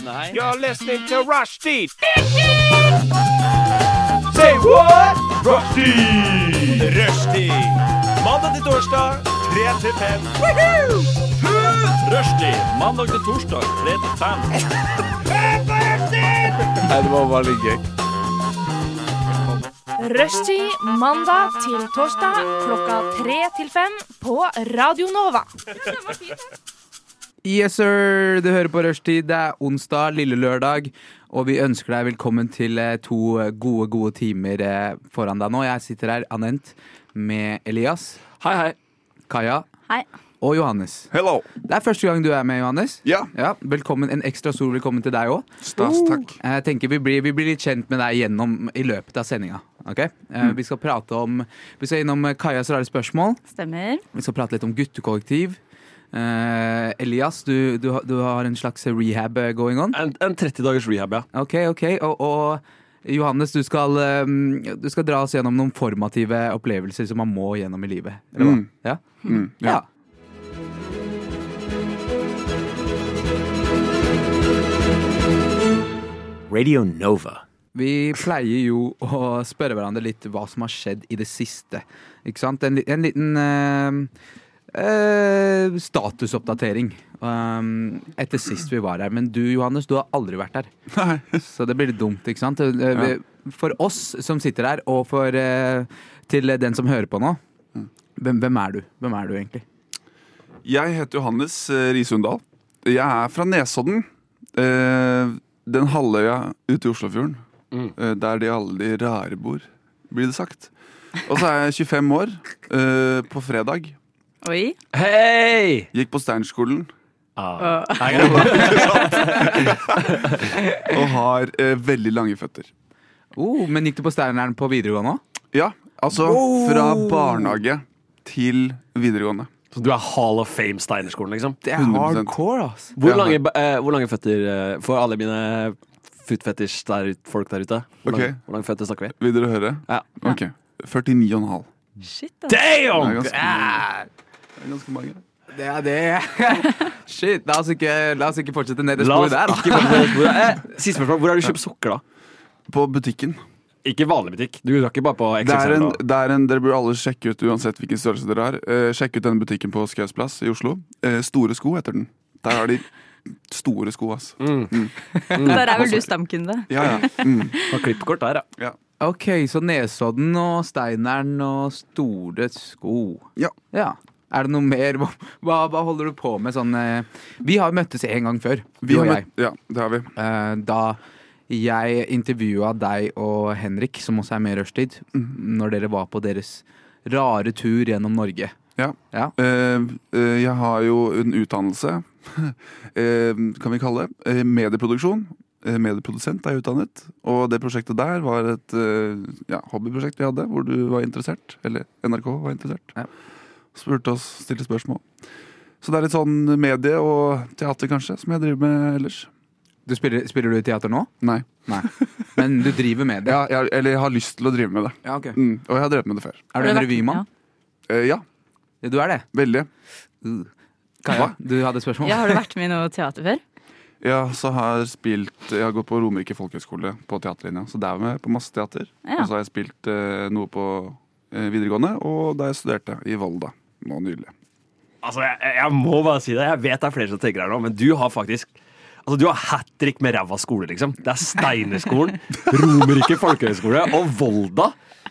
Nei. You're listening to Rushdie. Say what? Rushdie. Rushdie. Mandag til torsdag, 3 til 5. Rushdie. Mandag til torsdag, 3 til 5. Nei, det var bare litt gøy. Rushtid mandag til torsdag klokka tre til fem på Radio Nova. Yes, sir! Du hører på Rushtid. Det er onsdag, lille lørdag. Og vi ønsker deg velkommen til eh, to gode, gode timer eh, foran deg nå. Jeg sitter her, Anent, med Elias, Hei, hei. Kaja Hei. og Johannes. Hello. Det er første gang du er med, Johannes. Ja. velkommen, En ekstra stor velkommen til deg òg. Stas, takk. Jeg tenker vi blir, vi blir litt kjent med deg gjennom i løpet av sendinga. ok? Eh, Mm. Vi skal prate om Vi skal innom eh, Kajas rare spørsmål. Stemmer. Vi skal prate litt om guttekollektiv. Eh, Elias, du, du, har- du har en slags rehab eh, going on. En, en 30 dagers rehab, ja. Ok, ok. Og, og Johannes, du skal, eh, du skal dra oss gjennom noen formative opplevelser som man må gjennom i livet. Eller hva? Mm. Ja? Mm, ja. Radio Nova. Vi pleier jo å spørre hverandre litt hva som har skjedd i det siste. Ikke sant? En, li- en liten eh, eh, statusoppdatering um, etter sist vi var her. Men du Johannes, du har aldri vært her. Så det blir litt dumt, ikke sant? Eh, vi- For oss som sitter her, og for, eh, til den som hører på nå. Hvem, hvem er du? Hvem er du egentlig? Jeg heter Johannes eh, Risundal. Jeg er fra Nesodden. Eh, Den halvøya ute i Oslofjorden. Eh, Der de alle de rare bor, blir det sagt. Og så er jeg 25 år. eh, På fredag. Oi. Hei! Gikk på Steinerskolen Ah. og har eh, veldig lange føtter. Oh, men gikk du på Steineren på videregående òg? Ja, altså fra barnehage til videregående. Så du er Hall of Fame Steinerskolen, liksom? Det er 100%. hardcore, altså. Hvor Ja. lange, eh, hvor lange føtter eh, får alle mine foot fetish der, ut- folk der ute? Hvor Ok. lange, hvor lange føtter snakker vi? Vil dere høre? Ja. Ok. 49,5. Shit, ass. Det er Damn! ganske mange. Det er ganske mange. Det er det. Shit, la oss ikke, la oss ikke fortsette ned det La sporet oss der, da. ikke komme til bordet. Eh, Siste spørsmål. Hvor har du kjøpt sukker, da? På butikken. Ikke vanlig butikk. Du drar ikke bare på Det er XXL. en, da. det er en, dere bør alle sjekke ut uansett hvilken størrelse dere har. Eh, sjekk ut denne butikken på Skaus plass i Oslo. Eh, store sko heter den. Der har de store sko, ass. Der er vel du stamkunde. Ja, ja. Mm. Mm. Har klippkort der, ja. Ok, så Nesodden og Steineren og store sko. Ja. Er det noe mer? Hva, hva- hva holder du på med sånn eh, Vi har møttes en gang før, Vi du og har jeg. møtt, ja, det har vi. Eh, Da jeg intervjua deg og Henrik, som også er med i Rushtid, Mhm. når dere var på deres rare tur gjennom Norge. Ja. Ja. Eh, eh, jeg har jo en utdannelse, eh, kan vi kalle det. Eh, medieproduksjon. Eh, medieprodusent er jeg utdannet. Og det prosjektet der var et eh, ja, hobbyprosjekt vi hadde, hvor du var interessert. Eller NRK var interessert. Ja. Spurte oss, stilte spørsmål. Så det er litt sånn medie og teater, kanskje, som jeg driver med ellers. Du spiller, spiller du teater nå? Nei. Nei. Men du driver med det? Ja, jeg, eller jeg har lyst til å drive med det. Ja, ok. Mm. Og jeg har drevet med det før. Er du en revymann? Eh, ja, Du er det? veldig. Kaja, du hadde et spørsmål? Ja, har du vært med i noe teater før? Ja, så har jeg spilt Jeg har gått på Romerike folkehøgskole på teaterlinja. Så der var jeg på masse teater. Ja. Og så har jeg spilt eh, noe på eh, videregående, og da jeg studerte i Volda nå nylig. Altså, jeg, jeg- jeg må bare si det. Jeg vet det er flere som tenker her nå, men du har faktisk Altså, Du har hat trick med ræva skole, liksom. Det er Steinerskolen, Romerike folkehøgskole og Volda.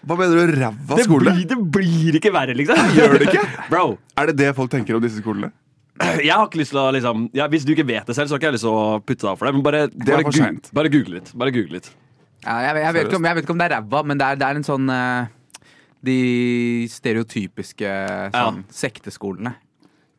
Hva mener du, ræva Det skole? blir, det blir ikke verre, liksom. Gjør det ikke? Bro, Er det det folk tenker om disse skolene? jeg har ikke lyst til å liksom ja, Hvis du ikke vet det selv, så har ikke jeg lyst til å putte deg opp for det. Men bare, bare, for gu- sent. bare google litt. Bare google litt. Ja, jeg, jeg, vet ikke om, jeg vet ikke om det er ræva, men det er, det er en sånn eh, De stereotypiske sånn, sekteskolene,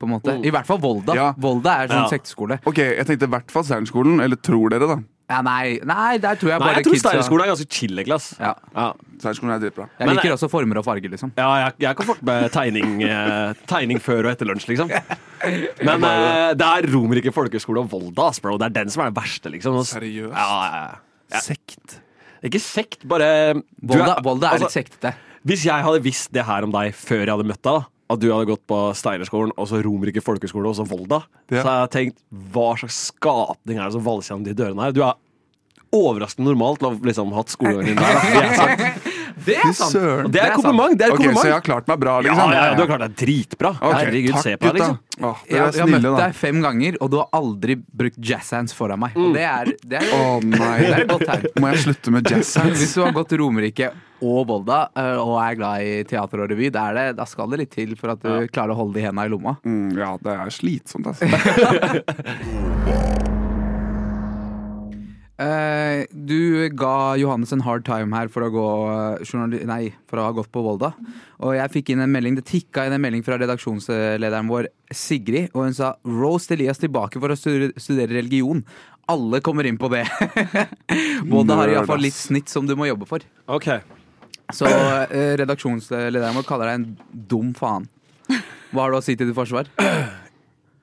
på en måte. I hvert fall Volda. Ja. Volda er sånn Mm. Ja. sekteskole. Ok, jeg tenkte i hvert fall Steinerskolen. Eller tror dere, da. Ja, nei, nei, der tror jeg Nei, bare jeg tror kidsa- Steinerskolen er ganske chill, Niklas. Ja. Ja. Steinerskolen er dritbra. Jeg Men- liker også former og farger, liksom. Ja, jeg, jeg kan fort med tegning, eh, tegning før og etter lunsj, liksom. Men eh, det er Romerike folkehøgskole og Volda, ass, bro. Det er den som er den verste, liksom. Og s- Seriøst? Ja, ja, ja. ja. Sekt. Ikke sekt, bare du Volda, Volda er altså, litt sektete. Hvis jeg hadde visst det her om deg før jeg hadde møtt deg, da, at du hadde gått på Steinerskolen, og så Romerike folkehøgskole, og så Volda. Ja. Så har jeg tenkt, hva slags skapning er det som valser gjennom de dørene her? Du er overraskende normal til å ha liksom, hatt skolegangen din der. da. Det er sant. Det Fy søren. Og det er kompliment! Det er Ok, kompliment. Så jeg har klart meg bra, ja, liksom? ja, ja, du har klart deg dritbra. Ok, Herregud, takk, se på deg, gutta. liksom. Åh, Jeg, dere jeg er har snille, møtt da. deg fem ganger, og du har aldri brukt jazzhands foran meg. Mm. Og det er, det er, Å det er nei. et godt tegn. Må jeg slutte med jazz Hvis hands? du har gått Romerike og Volda eh, og er glad i teater og revy, da, er det, da skal det litt til for at du klarer å holde de henda i lomma. Mm, ja, det er slitsomt, altså. Eh, du ga Johannes en hard time her for å, gå, eh, journali nei, for å ha gått på Volda. Og jeg fikk inn en melding, det tikka inn en melding fra redaksjonslederen vår, Sigrid. Og hun sa 'Rose Elias tilbake for å studere, studere religion'. Alle kommer inn på det. Volda har Nerd, iallfall litt ass. snitt som du må jobbe for. Ok. Så eh, redaksjonslederen vår kaller deg en dum faen. Hva har du å si til ditt forsvar?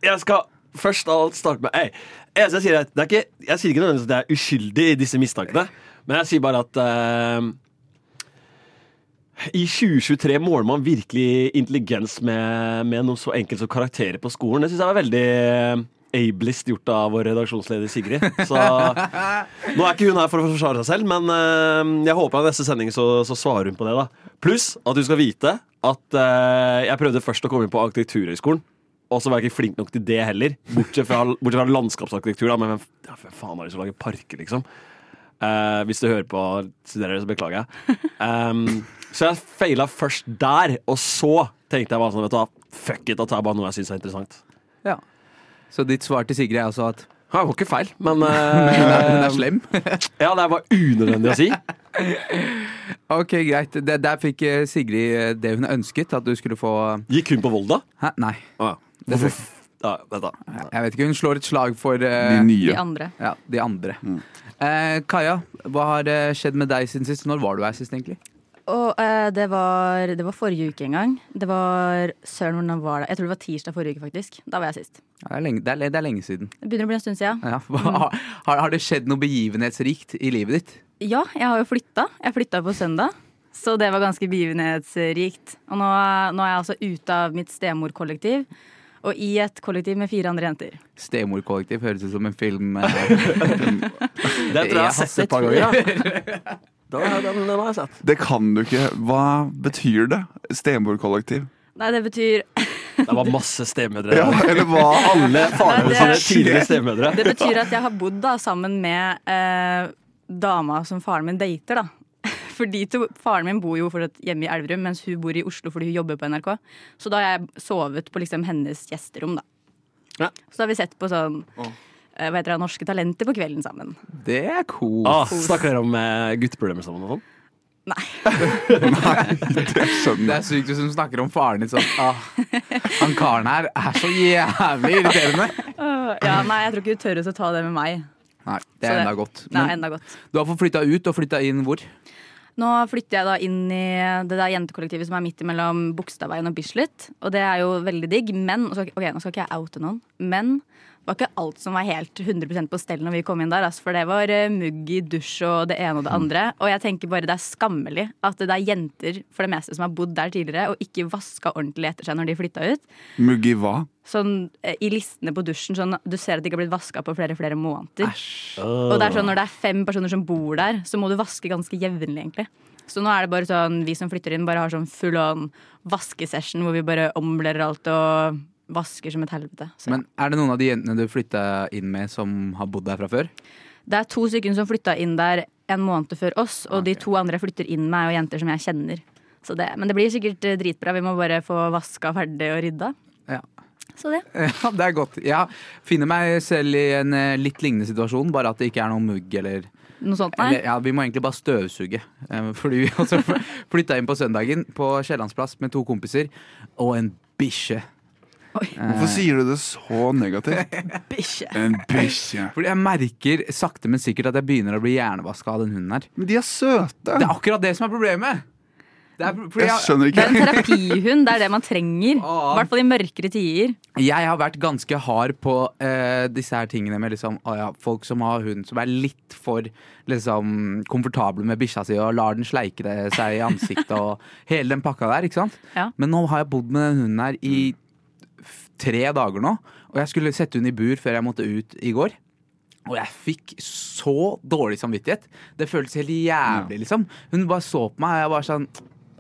Jeg skal først av alt starte med Ei, eneste jeg sier, er at det er ikke, jeg sier ikke nødvendigvis at jeg er uskyldig i disse mistankene, men jeg sier bare at eh, i 2023 måler man virkelig intelligens med, med noe så enkelt som karakterer på skolen. Det syns jeg var veldig eh, ableist gjort av vår redaksjonsleder Sigrid. Så nå er ikke hun her for å forsvare seg selv, men eh, jeg håper i neste sending så, så svarer hun på det. da. Pluss at du skal vite at eh, jeg prøvde først å komme inn på Arkitekturhøgskolen. Og så var jeg ikke flink nok til det heller. Bortsett fra, bortsett fra landskapsarkitektur. Da. Men hvem, ja, hvem faen har lyst til å lage parker, liksom? Eh, hvis du hører på og studerer, så beklager jeg. Ehm, så jeg feila først der, og så tenkte jeg bare sånn, vet du hva, fuck it, da tar jeg bare noe jeg syns er interessant. Ja. Så ditt svar til Sigrid er altså at Ja, Det var ikke feil, men hun er, hun eh, er slem? Ja, det var unødvendig å si. Ok, greit. Det, der fikk eh, Sigrid eh, det hun ønsket, at du skulle få Gikk hun på Volda? Hæ? Nei. Å, ja. Det tror ja, vent da. Jeg vet ikke, hun slår et slag for De eh, De nye. andre. ja, de andre. Eh, Kaja, hva har eh, skjedd med deg siden sist? Når var du her sist, egentlig? Og eh, det, var, det var forrige uke en gang. Det var Søren, hvordan var det? Jeg tror det var tirsdag forrige uke, faktisk. Da var jeg sist. Ja, det, er lenge, det, er, le- det er lenge siden. Mm. Det begynner å bli en stund siden. Ja. Hva, har, har det skjedd noe begivenhetsrikt i livet ditt? Ja, jeg har jo flytta. Jeg flytta på søndag. Så det var ganske begivenhetsrikt. Og nå, nå er jeg altså ute av mitt stemorkollektiv. Og i et kollektiv med fire andre jenter. Stemorkollektiv høres ut som en film. eh, Det tror jeg jeg har sett et par ganger. Ja. Da- Den, den har jeg sett. Det kan du ikke. Hva betyr det? Stenborgkollektiv? Nei, det betyr Det var masse stemødre. Ja, der. eller hva? Alle farene det- sine tidligere stemødre. Det betyr at jeg har bodd da sammen med eh, dama som faren min dater, da. For de to, Faren min bor jo fortsatt hjemme i Elverum, mens hun bor i Oslo fordi hun jobber på NRK. Så da har jeg sovet på liksom hennes gjesterom, da. Ja. Så da har vi sett på sånn eh, hva heter det, Norske Talenter på kvelden sammen. det er cool. Ah, snakker dere om eh, gutteproblemer sammen og sånn? Det Skjønner. er sykt hvis hun snakker om faren din sånn. Ah, han karen her er så jævlig irriterende. Ja, Nei, jeg tror ikke hun tør å ta det med meg. Nei, det Så er det- enda godt. Nei, Men enda godt. du har fått flytta ut og flytta inn hvor? Nå flytter jeg da inn i det der jentekollektivet som er midt imellom Bogstadveien og Bislett. Og det er jo veldig digg, men og så- Ok, nå skal ikke jeg oute noen, men det var ikke alt som var helt 100 på stell når vi kom inn der. ass, for det var eh, mugg i dusj og det ene og det andre. Og jeg tenker bare det er skammelig at det er jenter for det meste som har bodd der tidligere og ikke vaska ordentlig etter seg når de flytta ut. Muggi hva? Sånn eh, i listene på dusjen sånn du ser at det ikke har blitt vaska på flere flere måneder. Og det er sånn, Når det er fem personer som bor der, så må du vaske ganske jevnlig. egentlig. Så nå er det bare sånn, vi som flytter inn, bare har sånn full on vaskesession hvor vi bare omblerer alt og vasker som et helvete. Så, Men er det noen av de jentene du flytta inn med som har bodd der fra før? Det er to stykker som flytta inn der en måned før oss, og de to andre flytter inn meg og jenter som jeg kjenner. Så det, men det blir sikkert eh, dritbra. Vi må bare få vaska ferdig og rydda. Ja. Så det. ja, det er godt. Jeg finner meg selv i en eh, litt lignende situasjon, bare at det ikke er noe mugg eller Noe sånt, nei? eller, ja, Vi må egentlig bare støvsuge. Eh, Fordi vi altså flytta inn på søndagen på Kiellandsplass med to kompiser og en bikkje. Eh, Hvorfor sier du det så negativt? Bikkje. En bikkje. Fordi jeg merker sakte, men sikkert at jeg begynner å bli hjernevaska av den hunden her. Men de er søte. Det er akkurat det som er problemet! Det er fordi Jeg jeg, skjønner Det ikke. er en terapihund. Det er det man trenger. I Å. hvert fall i mørkere tider. jeg har vært ganske hard på eh, disse her tingene med liksom, å ja, folk som har hund som er litt for liksom, komfortable med bikkja si og lar den sleike det seg i ansiktet og hele den pakka der. ikke sant? Ja. Men nå har jeg bodd med den hunden her i Mm. f- tre dager nå, og jeg skulle sette hun i bur før jeg måtte ut i går. Og jeg fikk så dårlig samvittighet. Det føltes helt jævlig, liksom. Hun bare så på meg, og jeg var sånn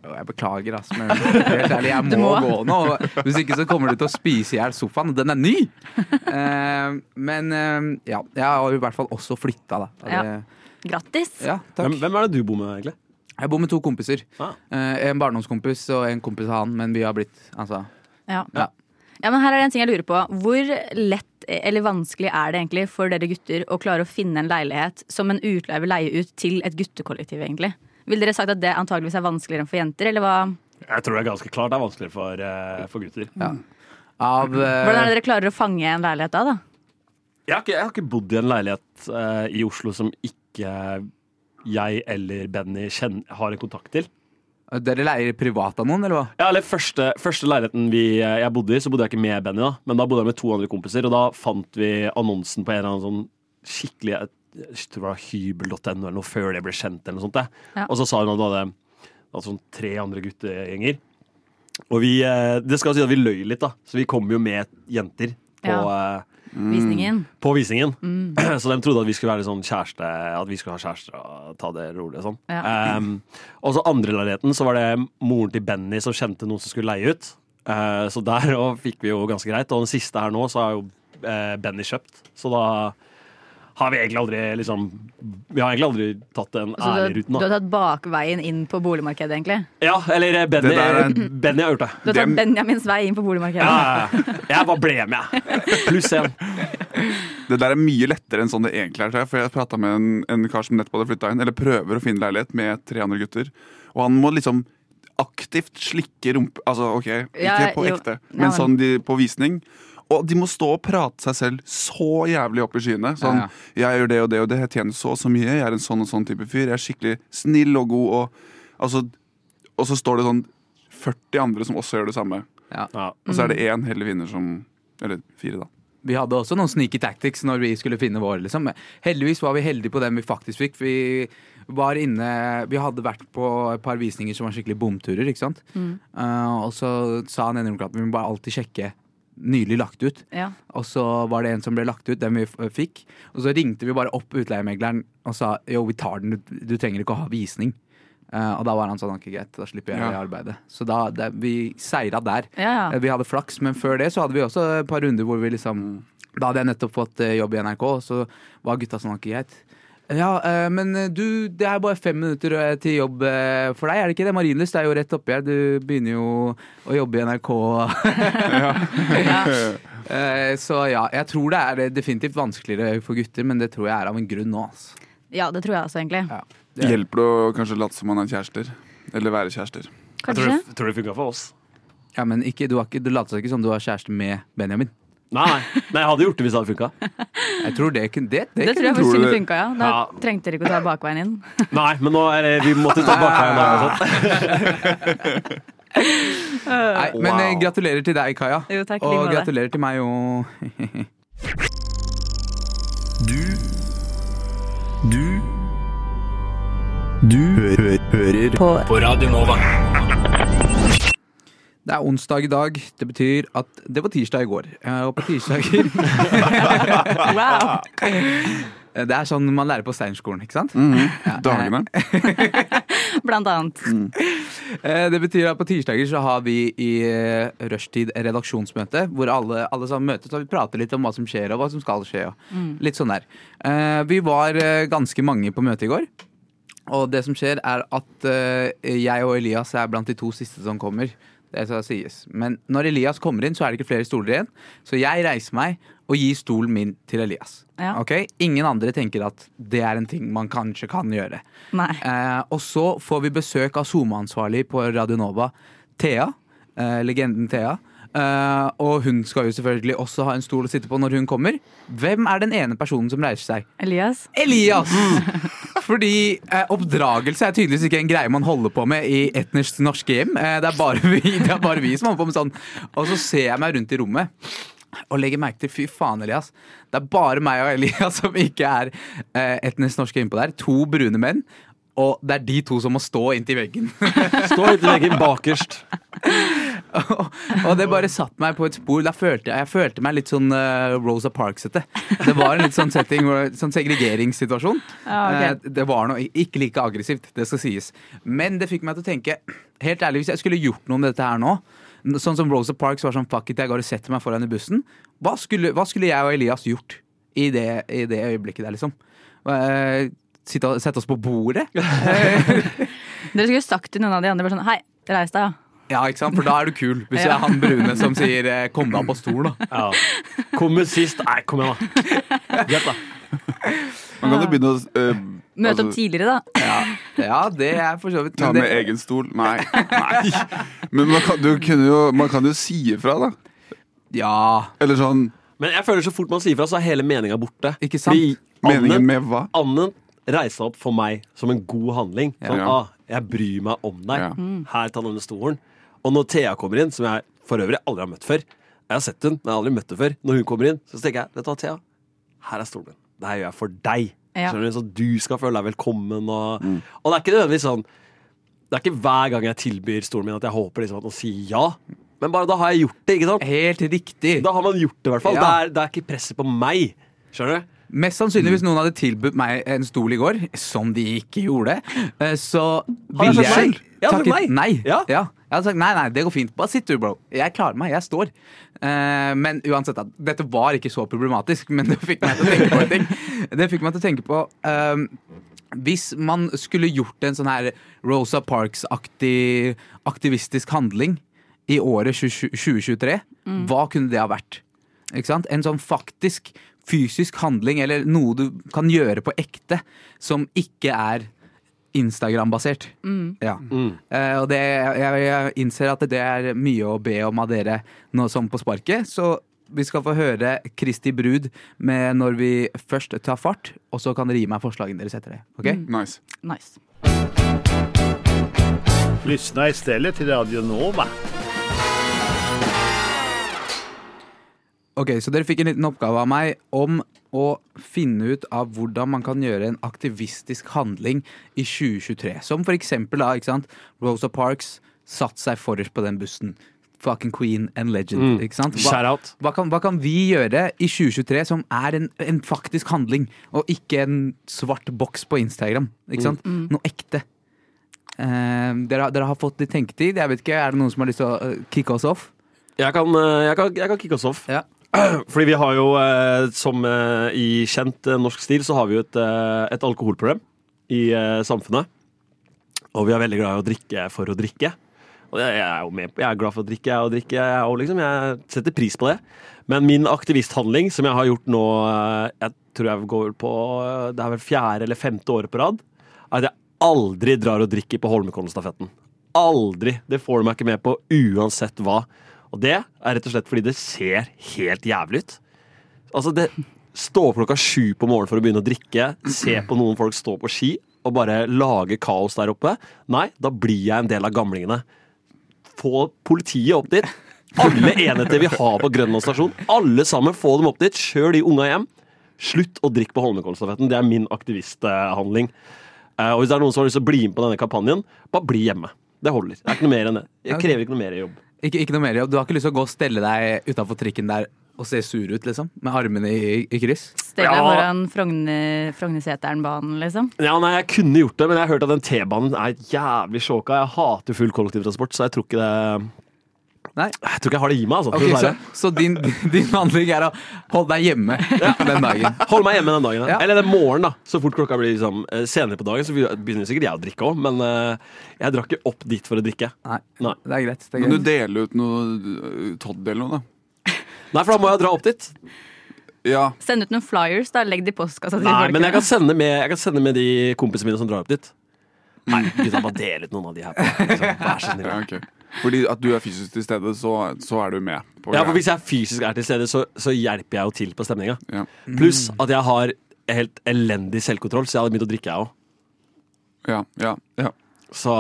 «Å, jeg beklager, ass, men helt ærlig, jeg må, må. gå nå. Hvis ikke så kommer du til å spise i hjel sofaen. og Den er ny! Eh, men eh, ja, jeg har jo i hvert fall også flytta, da. Og Ja. det- Grattis. ja, takk. Hvem, hvem er det du bor med, egentlig? Jeg bor med to kompiser. Ah. Eh, en barndomskompis og en kompis av han, men vi har blitt altså Ja. Ja. Ja, men her er det en ting jeg lurer på. Hvor lett eller vanskelig er det egentlig for dere gutter å klare å finne en leilighet som en utleier vil leie ut til et guttekollektiv, egentlig? Vil dere sagt at det antageligvis er vanskeligere enn for jenter, eller hva? Jeg tror det er ganske klart det er vanskeligere for, eh, for gutter. av Hvordan er eh, det dere klarer å fange en leilighet da, da? Jeg har, ikke, jeg har ikke bodd i en leilighet eh, i Oslo som ikke jeg eller Benny kjenn- har en kontakt til. eh, Dere leier privat av noen, eller hva? Ja, eller første, første leiligheten vi, eh, jeg bodde i, så bodde jeg ikke med Benny, da. Men da bodde jeg med to andre kompiser, og da fant vi annonsen på en eller annen sånn skikkelig eh, jeg, tror det var hybel.no eller noe før det ble kjent, eller noe sånt. det. Ja. Og så sa hun at hun hadde hadde sånn tre andre guttegjenger. Og vi, eh, det skal si at vi løy litt, da. Så vi kom jo med jenter på Ja. eh, Visningen? Mm. på visningen. Mm. Så de trodde at vi skulle være litt sånn kjæreste At vi skulle ha kjærester og ta det rolig. og Sånn. Ja. Ehm, og så andre leiligheten så var det moren til Benny som kjente noen som skulle leie ut. Eh, så der og fikk vi jo ganske greit. Og den siste her nå så har jo eh, Benny kjøpt. Så da har vi egentlig aldri liksom Vi har egentlig aldri tatt den Så Altså, du, har- ærlige ruten, du har da. tatt bakveien inn på boligmarkedet, egentlig? Ja, eller eh, Benny, Det der er- Benny har gjort det. Du har tatt Dem- Benjamins vei inn på boligmarkedet? Ja, ja, ja. jeg bare ble med, jeg. Pluss én. Det der er mye lettere enn sånn det egentlig er. tror jeg, For jeg prata med en, en kar som nettopp hadde flytta inn, eller prøver å finne leilighet med tre andre gutter. Og han må liksom aktivt slikke rumpe Altså ok, ikke Ja, på jo. ekte, Ja, men men- sånn de, på visning. Og de må stå og prate seg selv så jævlig opp i skyene. Sånn, Ja, 'Jeg gjør det og det og det, jeg tjener så og så mye, jeg er en sånn og sånn type fyr.' 'Jeg er skikkelig snill og god', og, altså, og så står det sånn 40 andre som også gjør det samme. Ja. Og så er det én heldig vinner som Eller fire, da. Vi hadde også noen sneaky tactics når vi skulle finne våre. Liksom. Heldigvis var vi heldige på den vi faktisk fikk. Vi, var inne, vi hadde vært på et par visninger som var skikkelig bomturer. Ikke sant? Mm. Eh, og så sa han ene at vi må bare alltid sjekke nylig lagt ut. Ja. Og så var det en som ble lagt ut, den vi f- fikk. Og så ringte vi bare opp utleiemegleren og sa jo, vi tar den, du, du trenger ikke å ha visning. Eh, og da var han sånn ok, greit, da slipper jeg Ja. det arbeidet. Så da, det, vi seira der. Ja, ja. Eh, Vi hadde flaks, men før det så hadde vi også et par runder hvor vi liksom Da hadde jeg nettopp fått eh, jobb i NRK, og så var gutta sånn ok, greit. Ja, eh, men eh, du, det er bare fem minutter eh, til jobb eh, for deg, er det ikke det? Marienlyst er jo rett oppi her, du begynner jo å jobbe i NRK. Eh, Så ja, jeg tror det er eh, definitivt vanskeligere for gutter, men det tror jeg er av en grunn nå, altså. ja, det tror jeg også, egentlig. Ja. Det- Hjelper det å kanskje late som man er kjærester? Eller være kjærester? Jeg tror Kanskje? det, tror det funka for oss. Ja, men ikke, du, har ikke, du later seg ikke som du har kjæreste med Benjamin. Nei, nei. nei, jeg hadde gjort det hvis det hadde funka. Jeg tror det kunne Det, det, Det tror jeg Tror faktisk du kunne det- funka, ja. Da Ja. trengte dere ikke å ta bakveien inn. Nei, men nå er det, vi måtte ta bakveien. der også. Nei, men Wow. eh, gratulerer til deg, Kaja. Jo, takk, like og med deg. gratulerer til meg og Du Du Du hø hø hører på. på Radio Nova. Det er onsdag i dag. Det betyr at Det var tirsdag i går. Eh, Og på tirsdager Wow! Eh, Det er sånn man lærer på Steinerskolen, ikke sant? Dagene? Blant annet. Eh, Det betyr at på tirsdager så har vi i eh, rushtid redaksjonsmøte, hvor alle, alle sammen møtes og vi prater litt om hva som skjer og hva som skal skje. Og litt sånn der. Eh, Vi var eh, ganske mange på møtet i går. Og det som skjer er at eh, jeg og Elias er blant de to siste som kommer. Det skal sies. Men når Elias kommer inn, så er det ikke flere stoler igjen. Så jeg reiser meg og gir stolen min til Elias. Ja. Ok? Ingen andre tenker at det er en ting man kanskje kan gjøre. Nei. Eh, og så får vi besøk av SoMe-ansvarlig på Radio Nova, Thea. Eh, legenden Thea. Eh, og hun skal jo selvfølgelig også ha en stol å sitte på når hun kommer. Hvem er den ene personen som reiser seg? Elias? Elias! Fordi eh, oppdragelse er tydeligvis ikke en greie man holder på med i etnisk norske hjem. Eh, det, er bare vi, det er bare vi som holder på med sånn. Og så ser jeg meg rundt i rommet og legger merke til Fy faen, Elias. Det er bare meg og Elias som ikke er eh, etnisk norske innpå der. To brune menn. Og det er de to som må stå inntil veggen. Stå litt i veggen bakerst. og det bare satt meg på et spor. Da følte jeg, jeg følte meg litt sånn eh, Rosa Parks-ete. Det var en litt sånn setting, hvor- sånn segregeringssituasjon. Ja, Ah, ok. Eh, Det var noe ikke like aggressivt, det skal sies. Men det fikk meg til å tenke, helt ærlig, hvis jeg skulle gjort noe med dette her nå, n- sånn som Rosa Parks var sånn, fuck it, jeg går og setter meg foran i bussen, hva skulle, hva skulle jeg og Elias gjort i det, i det øyeblikket der, liksom? Eh, sitte og- Sette oss på bordet? Dere skulle sagt til noen av de andre bare sånn Hei, reis deg, ja. Ja, ikke sant? For da er du kul. Hvis det er han brune som sier eh, 'kom deg opp på stol', da. Ja. Kommer sist. Nei, kom igjen, da. Greit, da. Man kan jo begynne å eh, Møt opp altså, tidligere, da. Ja, ja det er for så vidt ta men med det- egen stol. Nei. nei. Men man kan, du kunne jo, man kan jo si ifra, da. Ja, Eller sånn Men jeg føler så fort man sier fra, så er hele meninga borte. Ikke sant? Fordi Meningen Anne, med hva? Anne reiste opp for meg som en god handling. Sånn, Ja. ah, jeg bryr meg om deg. Ja. Her tar denne stolen. Og når Thea kommer inn, som jeg for øvrig aldri har møtt før Jeg har sett hun, men jeg har aldri møtt henne før. Når hun kommer inn, så tenker jeg Vet du hva, Thea? Her er stolen din. Det her gjør jeg for deg. Ja. Skjønner du? Så du skal føle deg velkommen. Og, og det er ikke nødvendigvis sånn Det er ikke hver gang jeg tilbyr stolen min at jeg håper liksom at noen sier ja. Men bare da har jeg gjort det, ikke sant? helt riktig. Da har man gjort det, i hvert fall. Ja. Det, er, det er ikke presset på meg. Skjønner du? Mest sannsynlig hvis noen hadde tilbudt meg en stol i går, som de ikke gjorde, eh, så jeg ville sagt nei? jeg Jeg hadde takket sagt nei. nei. Ja. Jeg hadde sagt nei, nei, det går fint. Bare sitt du, bro. Jeg klarer meg. Jeg står. Eh, men uansett, da, dette var ikke så problematisk, men det fikk meg til å tenke på en ting. Det fikk meg til å tenke på ehm, hvis man skulle gjort en sånn her Rosa Parks-aktig aktivistisk handling i året 20- 2023, hva kunne det ha vært? Ikke sant? En sånn faktisk fysisk handling, eller noe du kan gjøre på ekte, som ikke er Instagram-basert. Ja. Eh, og det, jeg, jeg innser at det er mye å be om av dere nå som på sparket, så vi skal få høre Kristi brud med når vi først tar fart, og så kan dere gi meg forslagene deres etter det. Ok? Nice. Nice. Lyssna istället till Radio Nova. Ok, så dere fikk en liten oppgave av meg om å finne ut av hvordan man kan gjøre en aktivistisk handling i 2023. Som for eksempel da, ikke sant, Rosa Parks satt seg forrest på den bussen. Fucking queen and legend, ikke sant? Mm. Shout out. hva, kan, hva kan vi gjøre i 2023 som er en, en faktisk handling, og ikke en svart boks på Instagram? Ikke sant? Noe ekte. Eh, dere, har- dere har fått litt tenketid. Jeg vet ikke, Er det noen som har lyst til å eh, kicke oss off? Jeg kan, eh, jeg kan, jeg kan kicke oss off. Ja. Fordi vi har jo, eh, som eh, i kjent eh, norsk stil, så har vi jo et, eh, et alkoholproblem i eh, samfunnet. Og vi er veldig glad i å drikke for å drikke. Og jeg, jeg er jo med på, jeg er glad for å drikke, jeg, og drikke, jeg, og liksom, jeg setter pris på det. Men min aktivisthandling, som jeg har gjort nå, eh, jeg tror jeg går på eh, det er vel fjerde eller femte året på rad, er at jeg aldri drar og drikker på Holmenkollen-stafetten. Aldri. Det får du meg ikke med på uansett hva. Og det er rett og slett fordi det ser helt jævlig ut. Altså, det Stå opp klokka sju på morgenen for å begynne å drikke, se på noen folk stå på ski og bare lage kaos der oppe. Nei, da blir jeg en del av gamlingene få politiet opp dit. Alle enheter vi har på Grønland stasjon, alle sammen, få dem opp dit. Kjør de unga hjem. Slutt å drikke på Holmenkollstafetten. Det er min aktivisthandling. Eh, Og hvis det er noen som har lyst til å bli med på denne kampanjen, bare bli hjemme. Det holder. Det er ikke noe mer enn det. Jeg krever ikke noe mer i jobb. Ikke, ikke noe mer jobb. Du har ikke lyst til å gå og stelle deg utafor trikken der og se sur ut, liksom? Med armene i, i kryss? Stell deg Ja. foran Frogner- Frognerseteren-banen, liksom. Ja, nei, Jeg kunne gjort det, men jeg har hørt at den T-banen er jævlig sjåka. Jeg hater full kollektivtransport, så jeg tror ikke det Nei. Jeg tror ikke jeg har det i meg, altså. Ok, for å så, være- så din, din handling er å holde deg hjemme den dagen? Hold meg hjemme den dagen. da. Ja. Eller den morgenen, da. Så fort klokka blir liksom, eh, senere på dagen, så begynner sikkert jeg å drikke òg. Men eh, jeg drar ikke opp dit for å drikke. Nei, Nei. det er greit. Det er Men du greit. deler ut noe eh, Todd eller noe, da? Nei, for da må jeg dra opp dit. Ja. Send ut noen flyers, da. Legg det i postkassa til Nei, folk. Men jeg kan sende med, jeg kan sende med de kompisene mine som drar opp dit. Nei, gutta, bare del ut noen av de her. Liksom. Vær så snill. ja ok. Fordi at du er fysisk til stede, så, så er du med. På Ja, greia. for Hvis jeg fysisk er til stede, så, så hjelper jeg jo til på stemninga. Ja. Mm. Pluss at jeg har helt elendig selvkontroll, så jeg hadde begynt å drikke, jeg òg. Ja, ja, ja. Så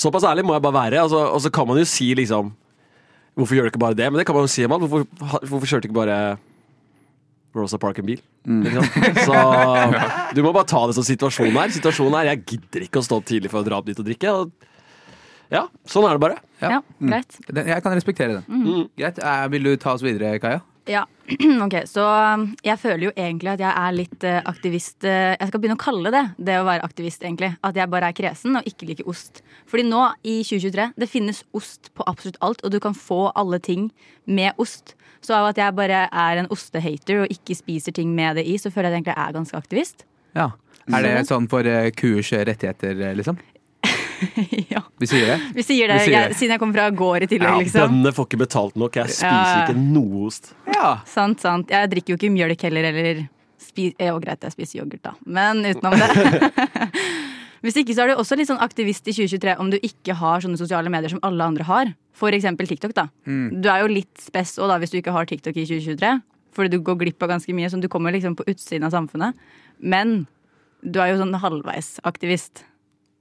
såpass ærlig må jeg bare være. Altså, og så kan man jo si liksom Hvorfor gjør du ikke bare det? Men det kan man jo si, man. Hvorfor, hvorfor kjørte du ikke bare Rosa Park en bil? Mm. Ikke sant? Så du må bare ta det som situasjonen er. Situasjonen er Jeg gidder ikke å stå opp tidlig for å dra opp dit og drikke. Og, ja, sånn er det bare. Ja. Ja, greit. Den, jeg kan respektere den. Greit. eh, vil du ta oss videre, Kaja? Ja, ok, så um, jeg føler jo egentlig at jeg er litt eh, aktivist. eh, Jeg skal begynne å kalle det det å være aktivist, egentlig. At jeg bare er kresen og ikke liker ost. Fordi nå, i 2023, det finnes ost på absolutt alt, og du kan få alle ting med ost. Så av at jeg bare er en ostehater og ikke spiser ting med det i, så føler jeg at jeg egentlig er ganske aktivist. Ja. Er det sånn for eh, kuers rettigheter, eh, liksom? ja, Vi sier det? Vi sier det, Vi sier det. Jeg, siden jeg kommer fra gård i tillegg, Ja, liksom. Bøndene får ikke betalt nok. Jeg spiser Ja, ja. ikke noe ost. Ja. Sant, sant. Jeg drikker jo ikke mjølk heller, eller spi- eh, Jo, greit, jeg spiser yoghurt, da. Men utenom det. Hvis ikke så er du også litt sånn aktivist i 2023 om du ikke har sånne sosiale medier som alle andre har. For eksempel TikTok, da. Mm. Du er jo litt spess òg, da, hvis du ikke har TikTok i 2023. Fordi du går glipp av ganske mye. Sånn, du kommer liksom på utsiden av samfunnet. Men du er jo sånn halvveisaktivist.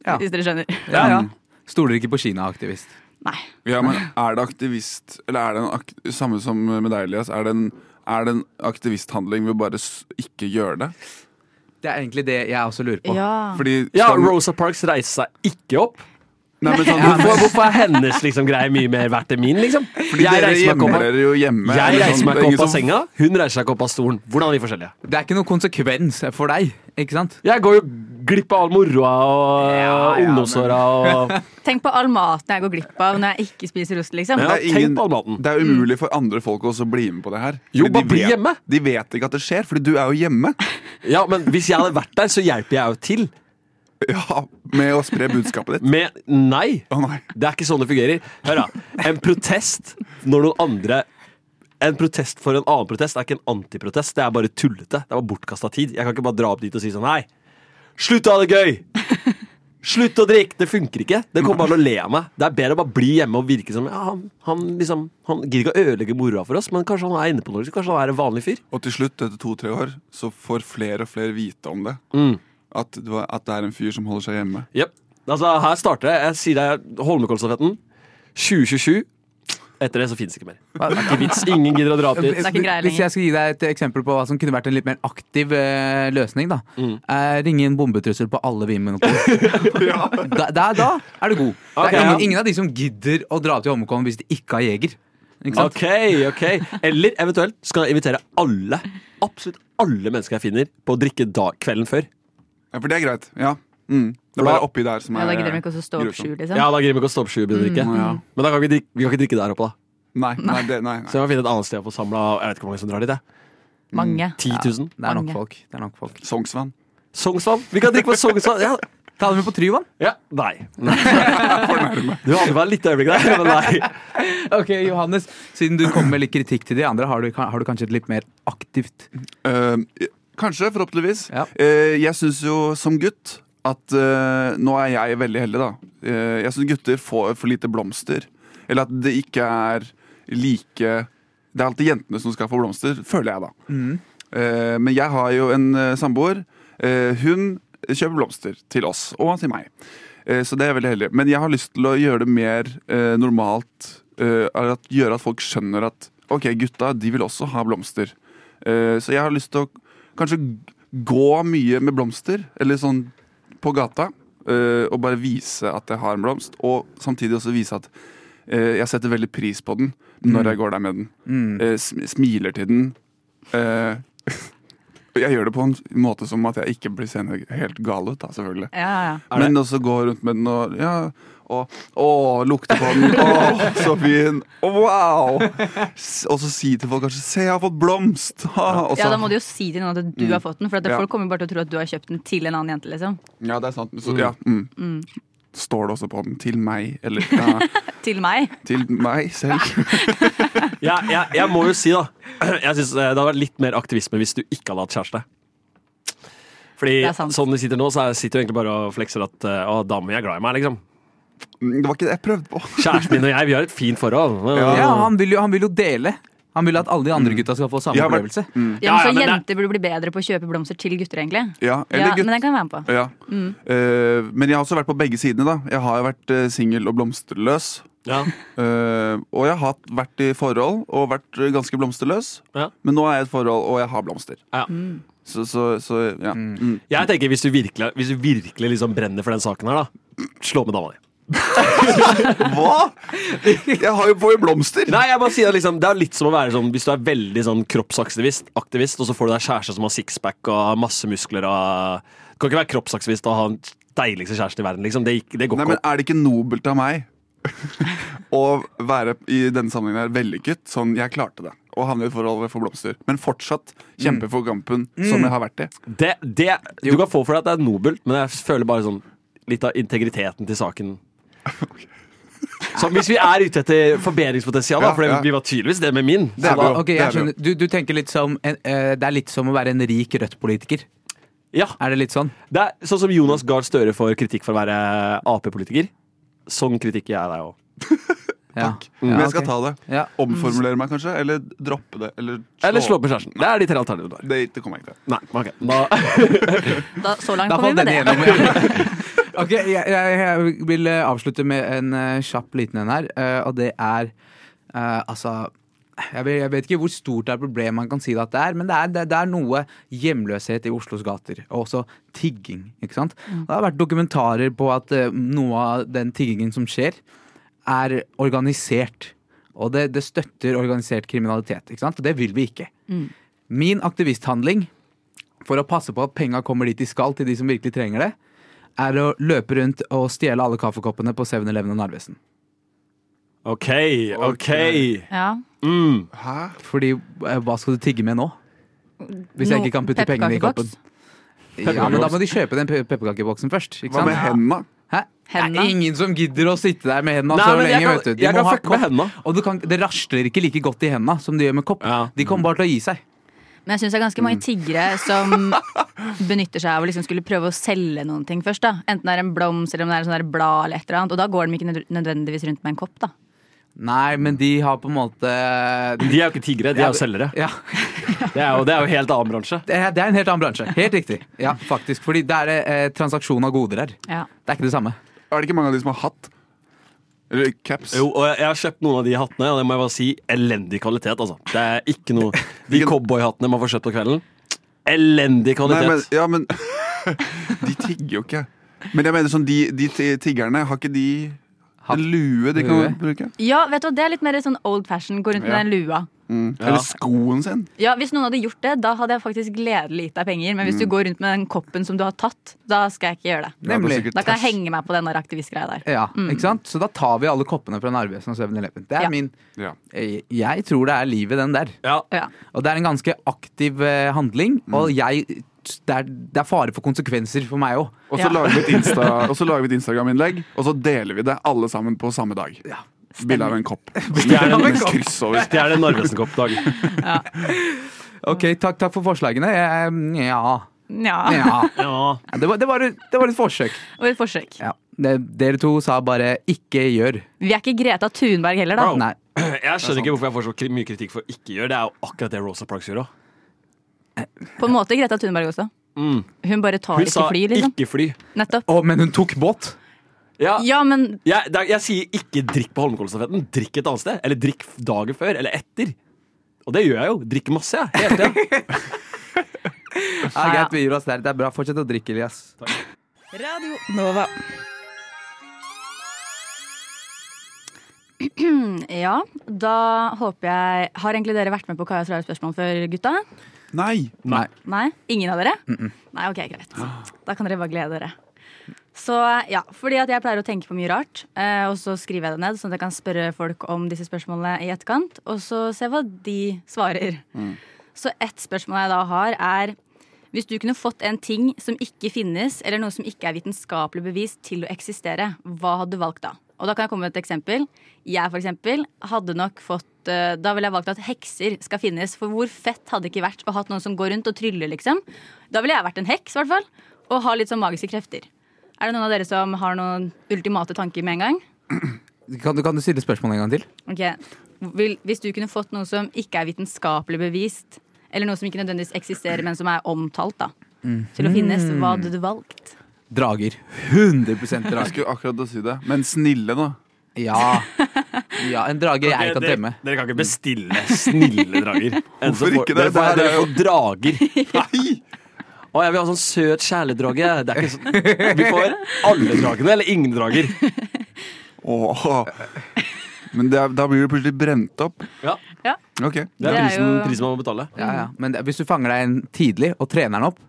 Ja. Hvis dere skjønner. ja, ja. Mm. Stoler ikke på Kina-aktivist. Nei. Ja, men er det aktivist Eller er det en ak samme som med deg, Elias? Er det en, er det en aktivisthandling ved å bare s ikke gjøre det? Det er egentlig det jeg også lurer på. Ja. Fordi Ja, skal- Rosa Parks reiser seg ikke opp. Nei, men sånn, Hvorfor, hvorfor er hennes liksom, greie mye mer verdt enn min? Liksom? fordi Jeg dere reiser meg ikke gjemmer opp. dere jo hjemme. Jeg eller reiser sånn, meg det er ikke ingen opp av som- senga, hun reiser seg ikke opp av stolen. Hvordan er de forskjellige? Det er ikke noen konsekvens for deg, ikke sant? Jeg går jo glipp av all moroa og Ja, ja, ungdomsåra og Tenk på all maten jeg går glipp av når jeg ikke spiser ost, liksom. Ja, Det er, tenk ingen, på all maten. det er umulig for andre folk også å bli med på det her. Jo, Fordi bare de bli vet- hjemme. De vet ikke at det skjer, fordi du er jo hjemme. Ja, men hvis jeg hadde vært der, så hjelper jeg jo til. Ja, Med å spre budskapet ditt. Med Nei! Å nei. Det er ikke sånn det fungerer. Hør, da. En protest når noen andre En protest for en annen protest er ikke en antiprotest. Det er bare tullete. Det er bare bortkasta tid. Jeg kan ikke bare dra opp dit og si sånn Nei, slutt å ha det gøy! Slutt å drikke! Det funker ikke. Det kommer bare til å le av meg. Det er bedre å bare bli hjemme og virke som ja, han, han liksom Han gidder ikke å ødelegge moroa for oss, men kanskje han er inne på noe. liksom. Kanskje han er en vanlig fyr. Og til slutt, etter to-tre år, så får flere og flere vite om det. Mm. At, det var- at det er en fyr som holder seg hjemme. Jep. Altså, her starter det. Jeg sier deg Holmenkollstafetten. 2027. Etter det så fins ikke mer. Det er ikke vits. Ingen gidder å dra opp dit. er ikke greie lenger. Hvis jeg skal gi deg et eksempel på hva som kunne vært en litt mer aktiv eh, løsning, da. Eh, ringe inn bombetrussel på alle vinmonopol. da, da, da er du god. Ok, det er ja. ingen, ingen av de som gidder å dra til Holmenkollen hvis de ikke har jeger. Ikke sant? Ok, ok Eller eventuelt skal jeg invitere alle, absolutt alle mennesker jeg finner, på å drikke da, kvelden før. Ja, For det er greit. Ja. Mm. Det er bare oppi der som er Ja, da gidder de ikke å stå opp grusomt. sju, liksom. Ja, da gidder vi ikke å stoppe sju og begynne å drikke. Men da kan vi, ikke drikke, vi kan ikke drikke der oppe, da. Nei, nei, det, nei, nei. Så jeg må finne et annet sted å få samla Jeg vet ikke hvor mange som drar dit. jeg. Mange. 10 000? Det er nok Mange. folk. Det er nok folk. Sognsvann. Sognsvann! Vi kan drikke på Sognsvann! Ja. Ta dem med på Tryvann. ja. Nei. Du hadde vært litt øyeblikk der, men nei. Ok, Johannes, siden du kommer med litt kritikk til de andre, har du, har du kanskje et litt mer aktivt Eh, kanskje, forhåpentligvis. Ja. Eh, jeg syns jo som gutt at eh, Nå er jeg veldig heldig, da. Eh, jeg syns gutter får for lite blomster. Eller at det ikke er like Det er alltid jentene som skal få blomster, føler jeg, da. Eh, men jeg har jo en eh, samboer. Eh, hun kjøper blomster til oss, og til meg. Eh, så det er jeg veldig heldig. Men jeg har lyst til å gjøre det mer eh, normalt. eh, eller at, gjøre at folk skjønner at ok, gutta de vil også ha blomster. Eh, så jeg har lyst til å kanskje g- gå mye med blomster, eller sånn på gata. eh, og bare vise at jeg har en blomst, og samtidig også vise at eh, jeg setter veldig pris på den når jeg går der med den. Eh, sm smiler til den. Eh, og jeg gjør det på en måte som at jeg ikke blir seende helt gal ut, da, selvfølgelig. Ja, ja. det- Men også gå rundt med den og ja, og, Å, lukte på den. Å, så fin. Å, wow! S- Og så si til folk kanskje 'Se, jeg har fått blomst!' Ha, og så, Ja, da må du jo si til noen at du har fått den, for at Ja. folk kommer bare til å tro at du har kjøpt den til en annen jente, liksom. ja, det er sant. Så, ja, mm. Står det også på den 'til meg' eller ja, Til meg. 'til meg selv'? Ja, jeg, jeg må jo si, da. Jeg synes eh, Det hadde vært litt mer aktivisme hvis du ikke hadde hatt kjæreste. Fordi Det er sant. sånn det sitter nå, så er- sitter du egentlig bare og flekser at eh, å, damer jeg er glad i meg, liksom. Mm, Det var ikke det jeg prøvde på. Kjæresten min og jeg, vi har et fint forhold. Ja, han vil jo, han vil jo dele. Han vil at alle de andre gutta skal få samme Jeg har vært- opplevelse. Ja, men Ja, ja, men så det- jenter burde bli bedre på å kjøpe blomster til gutter, egentlig. Ja, Ja, eller gutt. men Mm. den kan jeg være med på. Ja. Eh, men jeg har også vært på begge sidene. da Jeg har vært eh, singel og blomsterløs. Ja. Eh, og jeg har hatt- vært i forhold og vært eh, ganske blomsterløs. Ja. Men nå er jeg i et forhold, og jeg har blomster. Ja. Så, så, så ja. Mm. Jeg tenker hvis du virkelig, hvis du virkelig liksom brenner for den saken her, da. Slå med dama di. Hva?! Jeg har jo på i blomster! Nei, jeg bare sier at liksom, Det er litt som å være sånn hvis du er veldig sånn kroppsaktivist, aktivist, og så får du deg kjæreste som har sixpack og masse muskler og Du kan ikke være kroppsaktivist og ha den deiligste kjæresten i verden, liksom. Det, gikk- det går Nei, ikke men opp. er det ikke nobelt av meg å være i denne sammenhengen her vellykket? Sånn, jeg klarte det. Og havne i et forhold hvor jeg får blomster. Men fortsatt kjempe for kampen som jeg har vært i. Det, det, du kan få for deg at det er nobelt, men jeg føler bare sånn litt av integriteten til saken. Så hvis vi er ute etter forbedringspotensial, da, Ja, for det, ja. vi var tydeligvis det med min Det er så da- bra. Ok, det er jeg skjønner. Du, du tenker litt som en, eh, Det er litt som å være en rik Rødt-politiker. Ja, Er det litt sånn? det er Sånn som Jonas Gahr Støre får kritikk for å være Ap-politiker. Sånn kritikk gir jeg deg òg. Ja. Men Ja, jeg skal ok. ta det. Ja. Omformulere meg kanskje, eller droppe det. Eller slå, Eller slå på kjæresten. Det er de tre alternativene du har. Det, det kommer jeg ikke til. Nei, ok. Da, Da, så langt Da falt kom vi den med det. igjennom. Ja. Ok, jeg, jeg, jeg vil eh, avslutte med en eh, kjapp liten en her, eh, og det er eh, altså jeg vet, jeg vet ikke hvor stort det er problemet man kan si det at det er, men det er, det, det er noe hjemløshet i Oslos gater, og også tigging. ikke sant? Mm. Det har vært dokumentarer på at eh, noe av den tiggingen som skjer, er organisert. Og det, det støtter organisert kriminalitet. ikke sant? Og det vil vi ikke. Mm. Min aktivisthandling for å passe på at penga kommer dit de skal, til de som virkelig trenger det, er å løpe rundt og stjele alle kaffekoppene på 7-Eleven og Narvesen. ok, ok. Ja. Mm. Hæ? Fordi eh, hva skal du tigge med nå? Hvis jeg No- ikke kan putte pengene i koppen. pepperkakeboks. Ja, men Da må de kjøpe den pe- pepperkakeboksen først. Ikke Hva med sant? hendene? Hæ? Det Henda. er ingen som gidder å sitte der med hendene Nei, så men jeg lenge. kan- vet du. De jeg må kan ha fucke med kopp. hendene. Og du kan, det rasler ikke like godt i hendene som det gjør med kopp. Ja. De kommer bare til å gi seg. Men jeg syns det er ganske mange tiggere som benytter seg av å liksom skulle prøve å selge noen ting først. da Enten det er en blomst eller om det er en sånn der blad eller et eller annet. Og da går de ikke nødv- nødvendigvis rundt med en kopp, da. Nei, men de har på en måte De er jo ikke tiggere, de er jo selgere. Ja, Det er jo, det er jo helt annen bransje. Det er det er en helt annen bransje. Helt riktig. Ja, faktisk. Fordi det er eh, transaksjon av goder her. Ja. Det er ikke det samme. Er det ikke mange av de som har hatt? Eller caps? Jo, og jeg, jeg har kjøpt noen av de hattene, og det må jeg bare si elendig kvalitet, altså. Det er ikke noe De cowboyhattene man får kjøpt på kvelden. Elendig Nei, men, kvalitet. ja, men De tigger jo ikke. Men jeg mener sånn, de, de ti- tiggerne, har ikke de Hatt. en lue de kan Lue. bruke? ja, vet du hva, det er litt mer sånn old fashion, gå rundt med Ja. den lua. Mm. Eller skoen sin? Ja, Hvis noen hadde gjort det, da hadde jeg faktisk gledelig gitt deg penger. Men hvis Mm. du går rundt med den koppen som du har tatt, da skal jeg ikke gjøre det. Ja, det er Nemlig. sikkert Da kan tæsj. jeg henge meg på den der aktivistgreia der. Ja, ikke sant? Så da tar vi alle koppene fra Narvesen og 7-Eleven. Det er Ja. min Ja. jeg, jeg tror det er livet, den der. Ja. Ja. Og det er en ganske aktiv eh, handling. Og jeg det er, det er fare for konsekvenser for meg òg. Og så Ja. lager vi et, Insta, og så lager vi et Instagram-innlegg, og så deler vi det alle sammen på samme dag. Bilde av en kopp. Stjerne Med en kopp. kryss over. Stjel en Narvesen-kopp-dag. Ok, takk, takk for forslagene. Jeg, ja. Nja. ja. Ja. Det, var, det, var, et- det var et forsøk. Og et forsøk. Ja. Det, dere to sa bare 'ikke gjør'. Vi er ikke Greta Thunberg heller, da. Bro. Nei. Jeg skjønner ikke hvorfor jeg får så kri- mye kritikk for ikke gjøre det. er jo akkurat det Rosa Parks gjør òg. På en måte Greta Thunberg også. Mm. Hun bare tar Hun ikke sa fly, liksom. 'ikke fly'. Nettopp. Å, men hun tok båt! Ja, Ja, men Jeg, det er- jeg sier ikke drikk på Holmenkollstafetten. Drikk et annet sted. Eller drikk dagen før. Eller etter. Og det gjør jeg jo. Drikker masse, jeg. Hele tiden. Ja, greit, vi gir oss der. Det er bra. Fortsett å drikke, Elias. Ja, da håper jeg Har egentlig dere vært med på Kajas rare spørsmål før, gutta? Nei! Nei. Nei? Ingen av dere? Nei, ok, greit. Da kan dere bare glede dere. Så ja, fordi at jeg pleier å tenke på mye rart, eh, og så skriver jeg det ned, sånn at jeg kan spørre folk om disse spørsmålene i etterkant, og så se hva de svarer. Så ett spørsmål jeg da har, er hvis du kunne fått en ting som ikke finnes, eller noe som ikke er vitenskapelig bevis til å eksistere, hva hadde du valgt da? Og da kan jeg komme med et eksempel. Jeg for eksempel hadde nok fått eh, Da ville jeg valgt at hekser skal finnes. For hvor fett hadde det ikke vært å hatt noen som går rundt og tryller, liksom? Da ville jeg vært en heks, i hvert fall. Og ha litt sånn magiske krefter. Er det noen av dere som har noen ultimate tanker med en gang? Kan du, kan du stille spørsmålet en gang til? Ok, vil, hvis du kunne fått noe som ikke er vitenskapelig bevist, eller noe som ikke nødvendigvis eksisterer, men som er omtalt, da, til å finnes, hva hadde du valgt? Drager. 100 Jeg drager. skulle akkurat til å si det. Men snille, da. Ja. ja. En drage jeg kan temme. Dere, dere kan ikke bestille snille drager. En som Hvorfor får- ikke det? Dere Det får, her dere er jo- får drager. Nei! Å, jeg vil ha sånn søt kjæledrage. Det er ikke sånn. Vi får alle dragene, eller ingen drager. Åh. Men det er, da blir du plutselig brent opp. Ja, Ok. Det er, Det er prisen, jo- prisen man må betale. Ja, ja. Men det- hvis du fanger deg en tidlig og trener den opp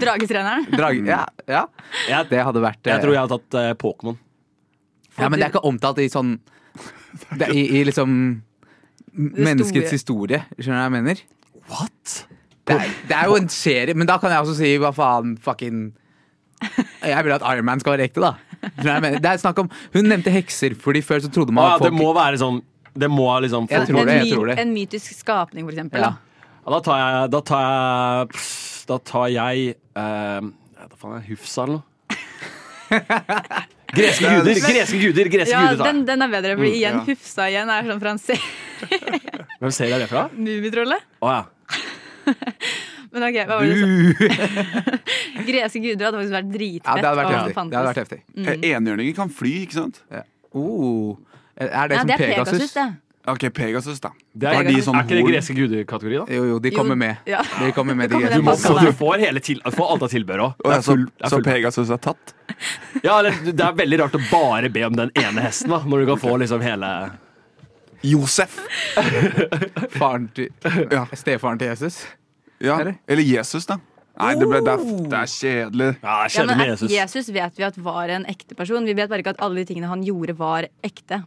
Dragetreneren? drage, ja, ja, Jeg, Det hadde vært eh, Mm. jeg tror jeg har tatt eh, Pokémon. Ja, men det er ikke omtalt i sånn det er i, I liksom menneskets historie. Skjønner du hva jeg mener? What? Det er, det er jo en serie, men da kan jeg også si hva faen fucking Jeg vil at Iron Man skal være ekte, da. Skjønner du hva jeg mener? Det er snakk om Hun nevnte hekser, fordi før så trodde man Ja, at det folk må være sånn Det må liksom Jeg folk- tror en, det, jeg my- tror det. en mytisk skapning, for eksempel. Ja. Da. Ja, da tar jeg Da tar jeg, pss, da tar jeg eh, ja, Da faen er det Hufsa eller noe? Greske guder! Greske guder greske Ja, guder tar jeg. den, den er bedre. Fordi Mm, igjen, ja. Hufsa igjen er sånn fra en se- Hvem ser jeg det fra? Mummitrollet. Å ja. Men ok, hva var det du Uh, sa? Greske guder hadde faktisk vært dritfett. Ja, det hadde vært om heftig. fantes. Det hadde vært heftig. Mm. Enhjørninger kan fly, ikke sant? Oh, er det Nei, som det er Pegasus? Pegasus, det. Ok, Pegasus, da. Det er, Har de sånn er ikke det horn? greske guder-kategori, da? Jo, jo, de Jo, kommer med. ja. De kommer med, Det de Du, kommer greiene. må, passer du meg. får hele til, du får alt av tilbehør òg. Og Det er så, full, det er så full Pegasus er tatt? Ja, eller, det er veldig rart å bare be om den ene hesten, da, når du kan få liksom hele Josef! Faren til Ja. Stefaren til Jesus. Ja. Eller? Eller Jesus, da. Nei, det, ble, det, Oh! er, det er kjedelig. Ja, Ja, kjenne men med er- Jesus. Jesus vet vi at var en ekte person. Vi vet bare ikke at alle de tingene han gjorde, var ekte.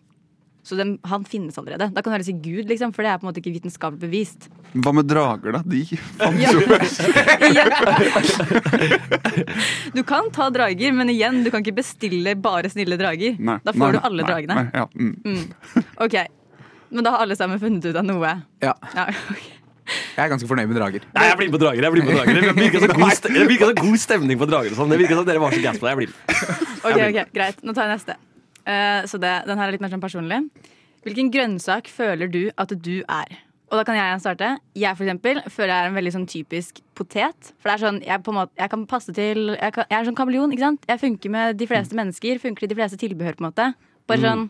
Så den, han finnes allerede. Da kan du heller si Gud, liksom, for det er på en måte ikke vitenskapelig bevist. Hva med drager, da? De Ja. fantes jo først. Igjen. Du kan ta drager, men igjen, du kan ikke bestille bare snille drager. Nei, Da får nei, du alle nei, dragene. nei, ja, mm. Ok, Men da har alle sammen funnet ut av noe. Ja, Ja, ok. jeg er ganske fornøyd med drager. Nei, jeg blir med på drager. jeg blir med på drager Det virka så, god ste- det virker så god stemning på drager. og Sånn. Det virka som dere var så gass på det. Jeg blir med. ok, ok, Greit. Nå tar jeg neste. Eh, så det, den her er litt mer sånn personlig. Hvilken grønnsak føler du at du er? Og da kan jeg starte. Jeg for eksempel, føler jeg er en veldig sånn typisk potet. For det er sånn, jeg, på en måte, jeg kan passe til Jeg, kan, jeg er sånn kameleon. ikke sant? Jeg funker med de fleste Mm. mennesker. Funker i de fleste tilbehør. på en måte Bare sånn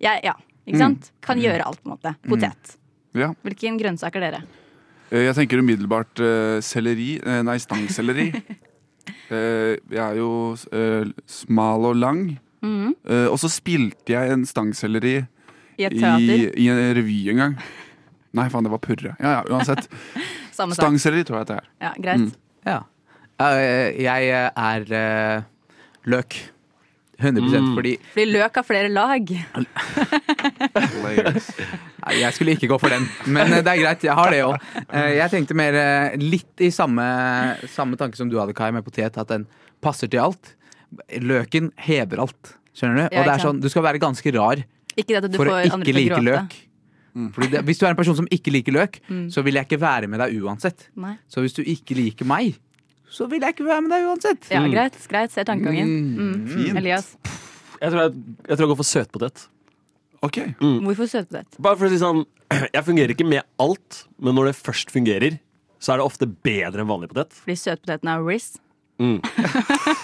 jeg, Ja, ikke sant? Mm. Kan gjøre alt, på en måte. Potet. Ja. Hvilken grønnsak er dere? Eh, Jeg tenker umiddelbart eh, selleri. eh, nei, stangselleri. Eh, jeg er jo eh, smal og lang. Mm. Eh, og så spilte jeg en stangselleri I et i, teater? i en revy en gang. Nei, faen, det var Purre. Ja, ja, uansett. Samme sak. Stangselleri tror jeg at det er. Ja, greit. Ja. Eh, Jeg er eh, løk. 100 fordi Fordi løk har flere lag. Layers. Nei, jeg skulle ikke gå for den, men eh, det er greit. Jeg har det òg. Jeg tenkte mer eh, litt i samme, samme tanke som du hadde, Kai, med potet. At den passer til alt. Løken hever alt. Skjønner du? Ja, Og det ikke er sånn, sant. du skal være ganske rar Ikke det at du for å får andre ikke til å like gråte. Mm. løk. Fordi det, hvis du er en person som ikke liker løk, så vil jeg ikke være med deg uansett. Nei. Så hvis du ikke liker meg, så vil jeg ikke være med deg uansett. Ja, greit. greit, Ser tankegangen. Mm. Elias, Jeg tror jeg, jeg tror jeg går for søtpotet. Ok. hvorfor søtpotet? Bare for å si sånn Jeg fungerer ikke med alt, men når det først fungerer, så er det ofte bedre enn vanlig potet. Fordi søtpoteten er Riz.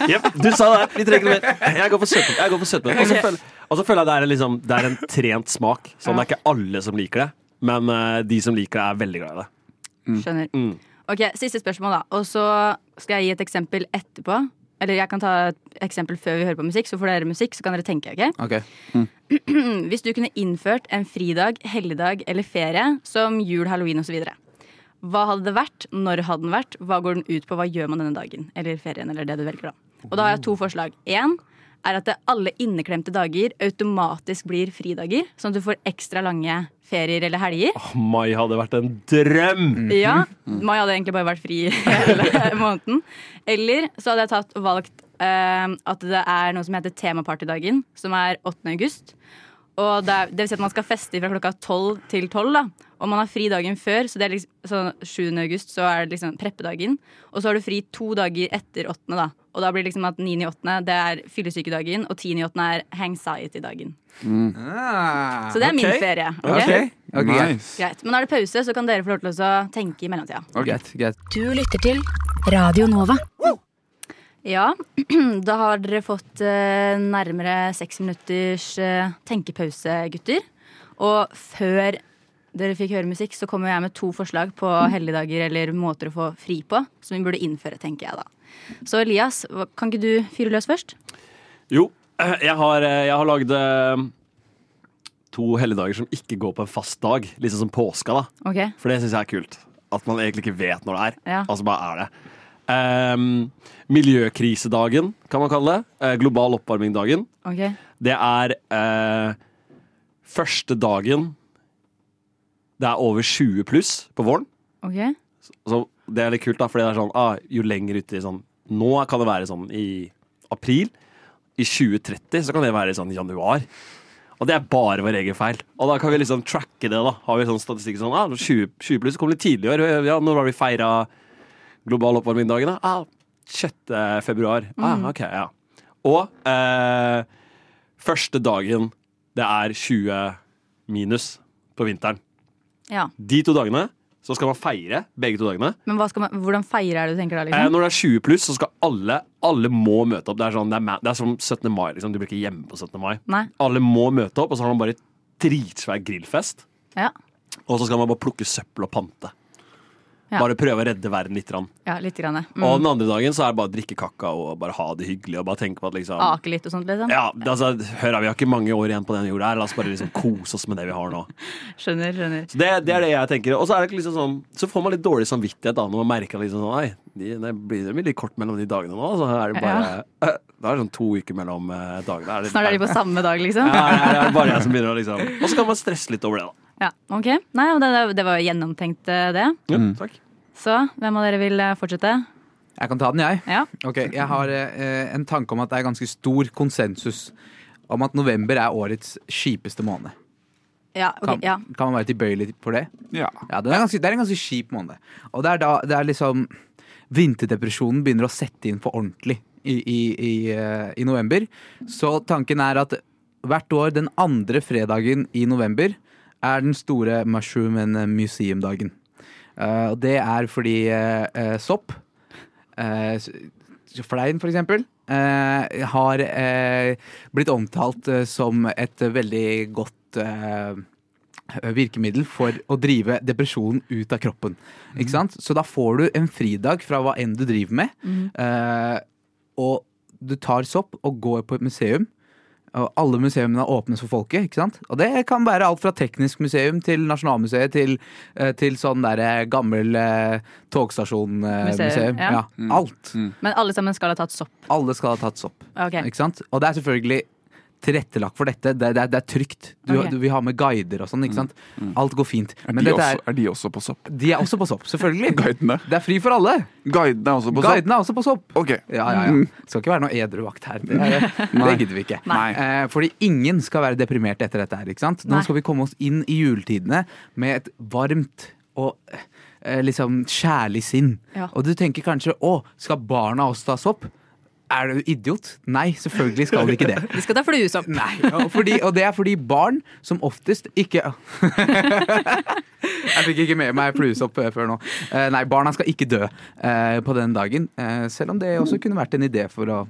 Jep, du sa det. Vi trenger ikke mer. Jeg går for søtpotet. Jeg går for søtpotet. Og så føler- Og så føler jeg det er, en liksom, det er en trent smak. Sånn, Det er ikke alle som liker det, men eh, de som liker det, er veldig glad i det. Skjønner. Ok, Siste spørsmål, da. Og så skal jeg gi et eksempel etterpå. Eller jeg kan ta et eksempel før vi hører på musikk, så får dere musikk, så kan dere tenke. ok? Ok. Mm, Hvis du kunne innført en fridag, helligdag eller ferie som jul, halloween osv., hva hadde det vært? Når hadde den vært? Hva går den ut på? Hva gjør man denne dagen? Eller ferien, eller det du velger, da. Og da har jeg to forslag. Én er at det alle inneklemte dager automatisk blir fridager, sånn at du får ekstra lange ferier eller helger. Åh, Mai hadde vært en drøm! Ja, Mai hadde egentlig bare vært fri hele måneden. Eller så hadde jeg tatt og valgt eh, at det er noe som heter temapartydagen, som er 8. august. Og det, er, det vil si at man skal feste fra klokka tolv til tolv. da. Og man har fri dagen før, så det er liksom, så 7. august så er det liksom preppedagen. Og så har du fri to dager etter åttende, da. Og da blir det liksom at 9. i åttende det er fyllesykedagen, og 10. i åttende er hangsiety-dagen. Ah, Så det er min ok. ferie. ok? Ok, ok, greit, Nice. Greit, Men er det pause, så kan dere få lov til å tenke i mellomtida. greit, greit. Du lytter til Radio Nova. Ja, da har dere fått eh, nærmere seks minutters eh, tenkepause, gutter. Og før dere fikk høre musikk, så kommer jeg med to forslag på helligdager eller måter å få fri på, som vi burde innføre, tenker jeg da. Så Elias, hva- kan ikke du fyre løs først? Jo, eh, jeg har, eh, jeg har lagd eh, to helligdager som ikke går på en fast dag. Liksom som påska, da. Ok, For det syns jeg er kult. At man egentlig ikke vet når det er. Ja. Altså bare er det. Ehm, miljøkrisedagen, kan man kalle det. Eh, global oppvarming-dagen. ok. Det er eh, første dagen det er over 20 pluss på våren. ok. Så det er litt kult, da, fordi det er sånn ah, Jo lenger ute i sånn Nå kan det være sånn i april. I 2030 så kan det være i sånn januar. Og det er bare vår egen feil. Og da kan vi liksom tracke det. da Har vi sånn statistikk sånn ah, 20, 20 pluss kom litt tidlig i år. Ja, når har vi feira global oppvarming-dagen? da? Ah, 6. februar. Ah, ok, ja. Og eh, første dagen det er 20 minus på vinteren. Ja, De to dagene så skal man feire begge to dagene. men hva skal man, hvordan feirer er det du tenker da, Eh, liksom? når det er 20 pluss, så skal alle Alle må møte opp. Det er, sånn, det er, ma- det er som 17. mai. Liksom. Du blir ikke hjemme på 17. mai. Nei, Alle må møte opp, og så har man bare dritsvær grillfest. ja. Og så skal man bare plukke søppel og pante. Ja. Bare prøve å redde verden litt. Grann. Ja, litt grann. ja. Og Mm. den andre dagen så er det bare å drikke kakao og bare ha det hyggelig. Og bare tenke på at liksom Ake litt og sånt, liksom. ja, det- altså, hør her, Vi har ikke mange år igjen på den jorda. her La oss bare liksom kose oss med det vi har nå. Skjønner, skjønner. Så det, det er det jeg tenker. Og så er det ikke liksom sånn Så får man litt dårlig samvittighet da når man merker liksom sånn Nei, de, det blir det blir litt kort mellom de dagene nå. Så er det bare eh, Da er det sånn to uker mellom eh, dagene. Er det, Snart er de på samme dag, liksom. ja, ja, det er bare jeg som begynner å liksom Og så kan man stresse litt over det, da. Ja, ok. Nei, men det, det var jo gjennomtenkt, eh, det. Ja, takk. Så hvem av dere vil eh, fortsette? Jeg kan ta den, jeg. Ja. Ok, Jeg har eh, en tanke om at det er ganske stor konsensus om at november er årets kjipeste måned. Ja, ok, Kan, ja. kan man være tilbøyelig for det? Ja. Ja, det er, ganske, det er en ganske kjip måned. Og det er da det er liksom Vinterdepresjonen begynner å sette inn for ordentlig i, i, i, eh, i november. Så tanken er at hvert år den andre fredagen i november er den store mushroom and museum-dagen. Eh, Og det er fordi eh, eh, sopp, eh, s- flein for eksempel, eh, har eh, blitt omtalt eh, som et veldig godt eh, virkemiddel for å drive depresjonen ut av kroppen. Mm. Ikke sant? Så da får du en fridag fra hva enn du driver med, Mm. eh, og du tar sopp og går på et museum. Og alle museumene åpnes for folket. ikke sant? Og det kan være alt fra teknisk museum til Nasjonalmuseet til, eh, til sånn derre gammel eh, togstasjonmuseum. Museum, ja. ja. Alt. Men alle sammen skal ha tatt sopp. Alle skal ha tatt sopp. Ok. Ikke sant? Og det er selvfølgelig tilrettelagt for dette. Det, det, det er trygt. Du, Ok. du, vi har med guider og sånn. ikke sant? Alt går fint. Men de dette også, er, Mm. er de også på sopp? de er også på sopp, selvfølgelig. Guidene Det er fri for alle. Guidene er også på sopp? Guidene er også på sopp. Ok. Ja, ja, ja. Det skal ikke være noe edru vakt her. Det, er- det gidder vi ikke. Nei. Eh, fordi ingen skal være deprimert etter dette her. ikke sant? Nå Nei. skal vi komme oss inn i juletidene med et varmt og eh, liksom kjærlig sinn. Ja. Og du tenker kanskje å, skal barna også ta sopp? Er du idiot? Nei, selvfølgelig skal de ikke det. De skal ta fluesopp. Nei, og, fordi, og det er fordi barn som oftest ikke Jeg fikk ikke med meg fluesopp eh, før nå. Eh, nei, barna skal ikke dø eh, på den dagen. eh, selv om det også kunne vært en idé for å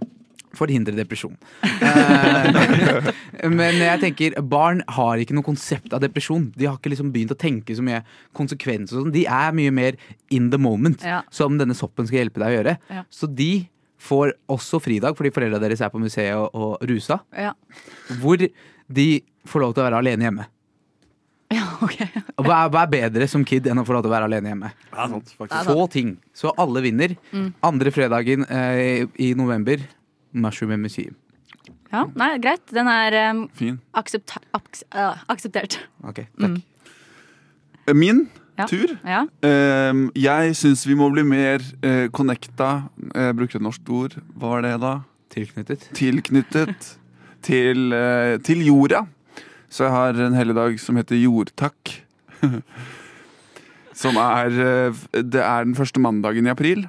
forhindre depresjon. Eh, men jeg tenker, barn har ikke noe konsept av depresjon. De har ikke liksom begynt å tenke så mye konsekvenser og sånn. De er mye mer in the moment, Ja. som denne soppen skal hjelpe deg å gjøre. Ja. Så de får også fridag fordi foreldra deres er på museet og, og rusa Ja, hvor de får lov til å være alene hjemme. ja ok. Og Hva er, hva er bedre som kid enn å få lov til å være alene hjemme? Ja, sant, faktisk. Få ting, så alle vinner. Mm. Andre fredagen eh, i november, Mushroom and Museum. Ja, nei, greit. Den er um, Fin. aksepta aks øh, akseptert. Ok, Mm. takk. Eh, Min Ja. tur. Ja. Ehm, jeg syns vi må bli mer eh, connecta. Jeg bruker et norsk ord. Hva var det, da? Tilknyttet. Tilknyttet til, eh, til jorda. Så jeg har en helligdag som heter jordtakk. som er eh, f- Det er den første mandagen i april.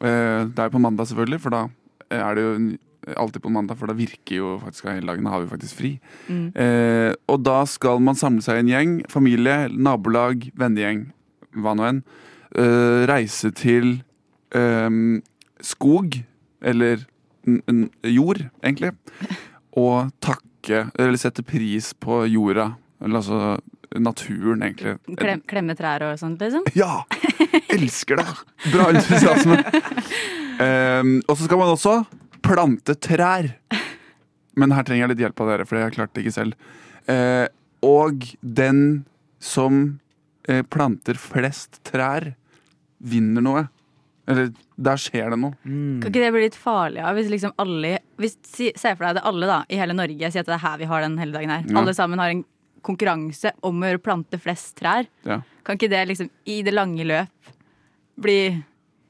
Eh, Det er på mandag, selvfølgelig, for da eh, er det jo en- alltid på mandag, for da virker jo faktisk helligdagen. Da har vi faktisk fri. Eh, og da skal man samle seg i en gjeng, familie, nabolag, vennegjeng, hva nå enn. Eh, reise til eh, skog, eller n n jord, egentlig, og takke, eller sette pris på jorda. Eller altså naturen, egentlig. Klem, klemme trær og sånt, liksom? Ja! Elsker det! Bra entusiasme. Ehm, og så skal man også plante trær. Men her trenger jeg litt hjelp av dere, for jeg klarte det ikke selv. Eh, og den som eh, planter flest trær, vinner noe. Eller der skjer det noe. Mm. Kan ikke det bli litt farlig ja? hvis liksom alle hvis, si, Se for deg det alle da, i hele Norge sier at det er her vi har den hele dagen her. Ja. Alle sammen har en konkurranse om å plante flest trær. Ja, Kan ikke det liksom i det lange løp bli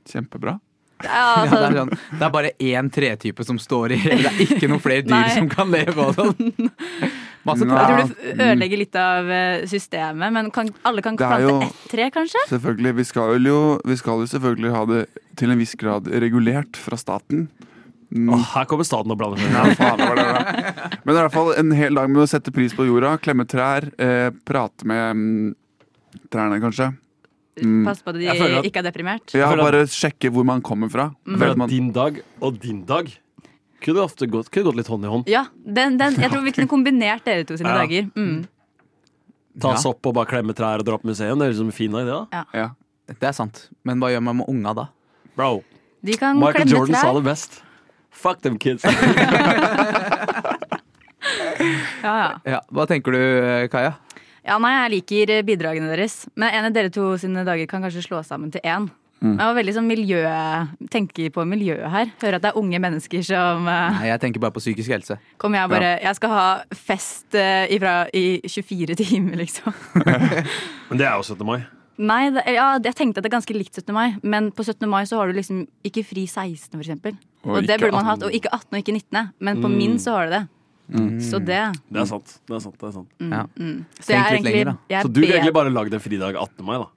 Kjempebra. ja, Ja, altså, det, er sånn, det er bare én tretype som står i Det er ikke noen flere dyr Nei. som kan leve og sånn. Masse Nei. trær. Jeg tror du ødelegger litt av eh, systemet, men kan, alle kan Det er plante jo- ett tre, kanskje? Selvfølgelig, vi skal, vel jo, vi skal jo selvfølgelig ha det til en viss grad regulert fra staten. Mm. Åh, her kommer staten og blander seg. Ja, faen, det var det bra. Men i hvert fall en hel dag med å sette pris på jorda, klemme trær, eh, prate med mm, trærne, kanskje. Mm. Pass på at de Jeg føler at- ikke er deprimert. Ja, føler at- bare sjekke hvor man kommer fra. Mm. For Vet at man, din dag og din dag kunne ofte gått, kunne gått litt hånd i hånd. Ja, den, den, jeg tror vi kunne kombinert dere to sine Ja. dager. Mm. Ta Ja. oss opp og bare klemme trær og dra på museum. Det er liksom en fin idé, da. ja. Det er sant. Men hva gjør man med unga da? Bro, De kan Michael klemme Jordan trær. sa det best. Fuck them kids. Ja, ja. Ja, hva tenker du, eh, Kaja? Ja, nei, jeg liker eh, bidragene deres. Men en av dere to sine dager kan kanskje slå sammen til én. Mm. Jeg var veldig sånn miljø, tenker på miljøet her. Hører at det er unge mennesker som eh, Nei, Jeg tenker bare på psykisk helse. Kommer jeg og bare Jeg skal ha fest eh, ifra, i 24 timer, liksom. Men det er jo 17. mai. Nei, det, ja, jeg tenkte at det er ganske likt 17. mai, men på 17. mai så har du liksom ikke fri 16, for eksempel. Og, det ikke burde man hatt. Og ikke 18 og ikke 19, men på min så har du det. Så det Det er sant. det er sant, det er sant. Ja. Så jeg er litt lenger, egentlig da. jeg er Så du ville bedre- egentlig bare lagd en fridag 18. mai, da.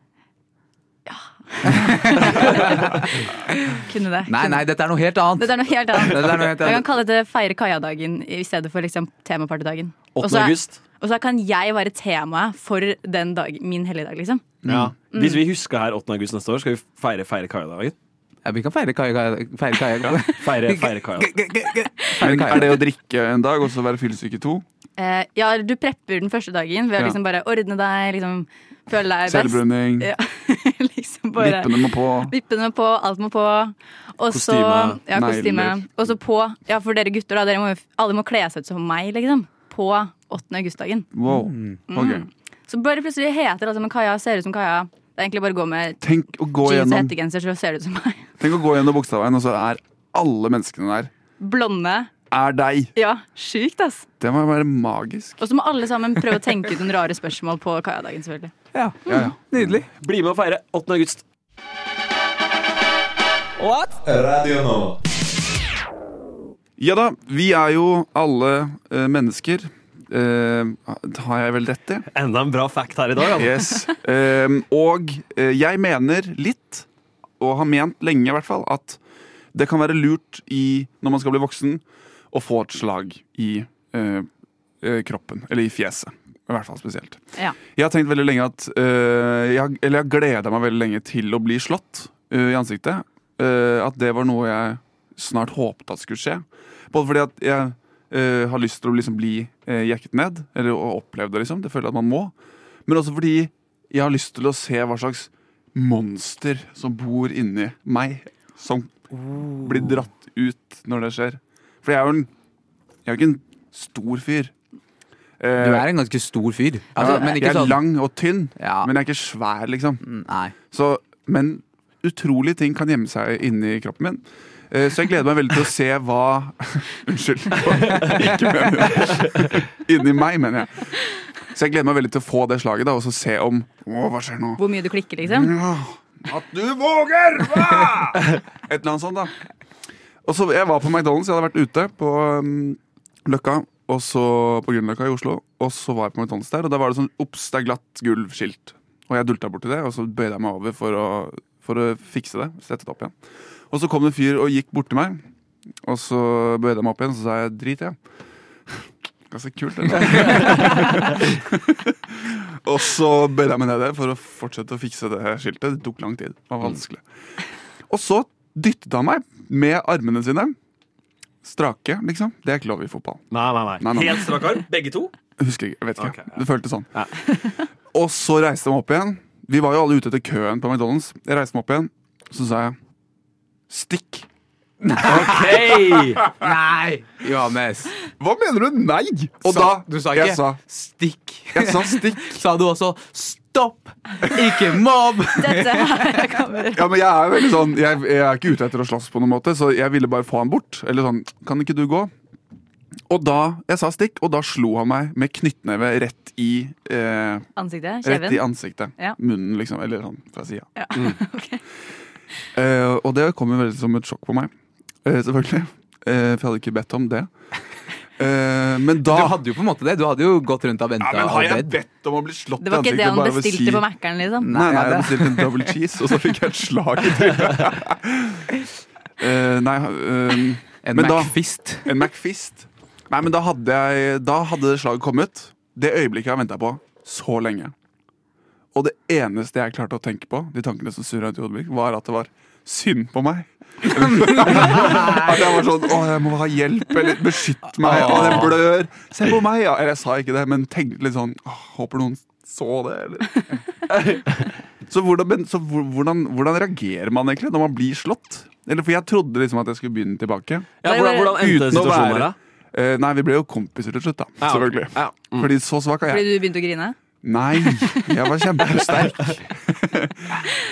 Kunne det. Nei, nei, dette er noe helt annet. Dette er noe helt annet. Dette er noe helt Jeg kan annet. kalle det Feire Kaja-dagen i stedet for liksom temapartydagen. 8. Og så er- august. Og så kan jeg være temaet for den dag, min helligdag, liksom. Ja. Hvis vi husker her 8. august neste år, skal vi feire feire Kaja-dagen. Ja, vi kan feire Kaja. Kaja- Feire Kaja. Feire, feire Kaja. Men er det å drikke en dag og så være fyllesyke to? Eh, ja, du prepper den første dagen ved å Ja. liksom bare ordne deg, liksom føle deg best. Selvbrenning, Ja, liksom bare vippene må på. Vippene på, alt må på. Og så- Kostyme, ja, kostyme. negler. Og så på Ja, for dere gutter, da. Dere må, jo- alle må kle seg ut som meg, liksom. På 8. augustdagen. Wow. Mm. Ok. Så bare plutselig heter alle sammen Kaja, ser ut som Kaja. Det er egentlig bare å gå med Tenk å gå jeans gjennom, og hettegenser, så ser det ut som meg. tenk å gå gjennom Bogstadveien, og så er alle menneskene der. Blonde. Er deg! Ja, sjukt, ass. Det må være magisk. Og så må alle sammen prøve å tenke ut noen rare spørsmål på Kaja-dagen, selvfølgelig. Ja, Ja, ja. nydelig. Mm. Bli med og feire 8. august. Ja da, vi er jo alle eh, mennesker. Eh, har jeg vel rett i? Enda en bra fact her i dag. Altså. Yes. Ehm, og eh, jeg mener litt, og har ment lenge i hvert fall, at det kan være lurt i, når man skal bli voksen, å få et slag i eh, eh, kroppen. Eller i fjeset. I hvert fall spesielt. Ja. Jeg har tenkt veldig lenge at eh, jeg, har- Eller jeg gleda meg veldig lenge til å bli slått eh, i ansiktet. Eh, at det var noe jeg snart håpet at skulle skje. Både fordi at jeg eh, har lyst til å liksom bli eh, jekket ned, eller å oppleve det, liksom. Det føler jeg at man må. Men også fordi jeg har lyst til å se hva slags monster som bor inni meg. Som blir Oh. dratt ut når det skjer. For jeg er jo en, jeg er jo ikke en stor fyr. Eh, Du er en ganske stor fyr. Altså, ja, men jeg ikke er sånn lang og tynn, Ja. mm, men jeg er ikke svær, liksom. Nei. Så, men utrolige ting kan gjemme seg inni kroppen min. Eh, Så jeg gleder meg veldig til å se hva Unnskyld. Ikke mener jeg. Inni meg, mener jeg. Så jeg gleder meg veldig til å få det slaget da, og så se om Å, hva skjer nå? Hvor mye du klikker, liksom. At du våger! Hva? Et eller annet sånt, da. Og så, jeg var på McDonald's, jeg hadde vært ute på um, Løkka, og så på Grünerløkka i Oslo. Og så var jeg på McDonald's der, og da var det sånn Ops, det er glatt gulvskilt. Og jeg dulta borti det, og så bøyde jeg meg over for å, for å fikse det. Sette det opp igjen. Og så kom det en fyr og gikk borti meg, og så bøyde jeg meg opp igjen, så sa jeg drit, jeg. Ganske kult, det. og så bøyde jeg meg ned der for å fortsette å fikse det skiltet. Det tok lang tid. Det var vanskelig. Og så dyttet han meg med armene sine. Strake, liksom. Det er ikke lov i fotball. Nei, nei, nei. Nei, nei. Helt strak arm, begge to. Jeg Husker ikke, jeg vet ikke. Ok, ja. Det føltes sånn. og så reiste jeg meg opp igjen. Vi var jo alle ute etter køen på McDonald's. Jeg reiste meg opp igjen, så sa jeg stikk. Hei! Nei! Johannes. Hva mener du? Nei! Og Sa- da Du sa ikke Jeg sa, stikk. jeg sa stikk. Sa du også stopp, ikke mobb? Dette her kommer Ja, men jeg er jo veldig sånn jeg, jeg er ikke ute etter å slåss på noen måte, så jeg ville bare få han bort. Eller sånn, kan ikke du gå? Og da Jeg sa stikk, og da slo han meg med knyttneve rett i eh, ansiktet. Rett i Kjeven. ansiktet. Ja. Munnen, liksom. Eller sånn fra sida. Ja, Eh, og det kom jo veldig som et sjokk på meg. Eh, selvfølgelig. Eh, for jeg hadde ikke bedt om det. Eh, men Du da hadde jo på en måte det. Du hadde jo gått rundt og venta. ja, men Har jeg bedt om å bli slått Det var ikke det han bare ved å bestilte på Mækkern, liksom. Nei, nei, jeg det- bestilte en double cheese, og så fikk jeg et slag i trynet. Eh, nei eh, en men da- McFist. En McFist. Nei, men da hadde, jeg, da hadde slaget kommet. Det øyeblikket jeg har venta på så lenge. Og det eneste jeg klarte å tenke på, de tankene som surra ut i hodet mitt, var at det var synd på meg. at jeg var sånn Å, jeg må ha hjelp, eller beskytt meg, og det blør. Se på meg! Ja. Eller jeg sa ikke det, men tenkte litt sånn «Åh, Håper noen så det, eller Så, hvordan, men, så hvor- hvordan, hvordan reagerer man egentlig når man blir slått? Eller, for jeg trodde liksom at jeg skulle begynne tilbake. Ja, hvordan, hvordan endte Uten å situasjonen her, være- da? Eh, nei, vi ble jo kompiser til slutt, da. Ja, ok. Selvfølgelig. Ja. Fordi så svak er jeg. mm. Fordi du begynte å grine? Nei, jeg var kjempesterk.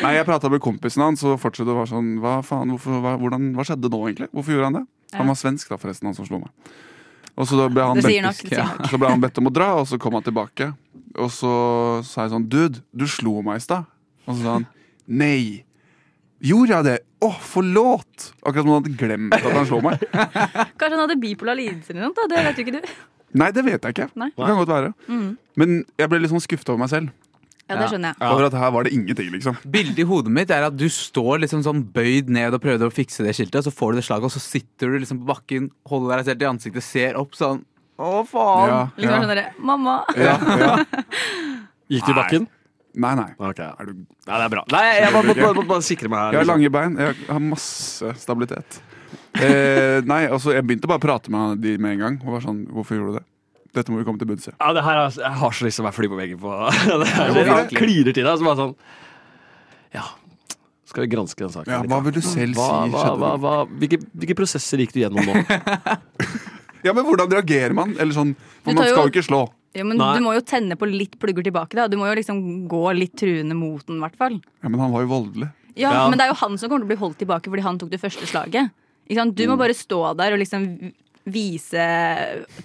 nei, jeg prata med kompisen hans og fortsatte å være sånn Hva faen, hvorfor, hva, hvordan, hva skjedde nå, egentlig? Hvorfor gjorde han det? Han var svensk, da, forresten, han som slo meg. Og så da ble han Det sier nok. bedt, Det sier nok. så ble han bedt om å dra, og så kom han tilbake. Og så sa jeg sånn Dude, du slo meg i stad. Og så sa han nei. Gjorde jeg det? Å, forlåt! Akkurat som han hadde glemt at han slo meg. Kanskje han hadde bipolar lidelse eller noe? sånt, da? Det vet jo ikke du. Nei, det vet jeg ikke. Nei. Det kan godt være. Men jeg ble litt sånn skuffa over meg selv. Ja, det skjønner jeg. Over at her var det ingenting, liksom. Bildet i hodet mitt er at du står liksom sånn bøyd ned og prøvde å fikse det skiltet, og så får du det slaget, og så sitter du liksom på bakken, holder deg selv i ansiktet, ser opp sånn Å, faen! Ja, Liksom ja. sånn derre Mamma! Ja, ja. Gikk du i bakken? Nei, nei. Ok, ja. Er du- Nei, det er bra. Nei, jeg må, må, må, må bare sikre meg her. Jeg har liksom. lange bein. Jeg har masse stabilitet. Eh, nei, altså, jeg begynte bare å prate med han- de med en gang. Og var sånn, hvorfor gjorde du det? Dette må vi komme til bunns i. Ja, det her er, jeg har så lyst til å være fly på veggen på Det her hvorfor det det? kliner til deg. Så bare sånn Ja, skal vi granske den saken? Ja, litt, hva da? vil du selv hva, si hva, skjedde? hva, hva, hvilke, hvilke prosesser gikk du gjennom nå? Ja, men hvordan reagerer man? Eller sånn, for Du man tar skal jo jo- ikke slå. Jo, men Nei. du må jo tenne på litt plugger tilbake, da. Du må jo liksom gå litt truende mot den, i hvert fall. Ja, men han var jo voldelig. Ja, Ja. Men det er jo han som kommer til å bli holdt tilbake fordi han tok det første slaget. Ikke sant? Du må bare stå der og liksom vise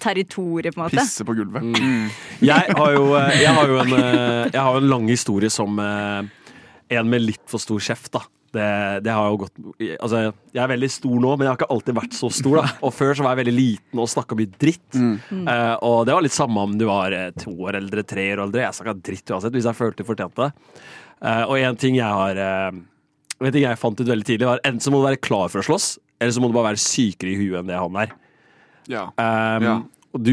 territoriet, på en måte. Pisse på gulvet. Jeg har jo, eh, jeg har jo en, eh, jeg har jo en lang historie som eh, en med litt for stor kjeft, da. Det, det har jo gått Altså, jeg er veldig stor nå, men jeg har ikke alltid vært så stor, da. Og før så var jeg veldig liten og snakka mye dritt. Eh, og det var litt samme om du var eh, to år eldre, tre år eldre. Jeg snakka dritt uansett, hvis jeg følte jeg fortjente det. Eh, og en ting jeg har eh, En ting jeg fant ut veldig tidlig, var enten så må du være klar for å slåss, eller så må du bare være sykere i huet enn det han er. Ja. Um, Ja. Og du,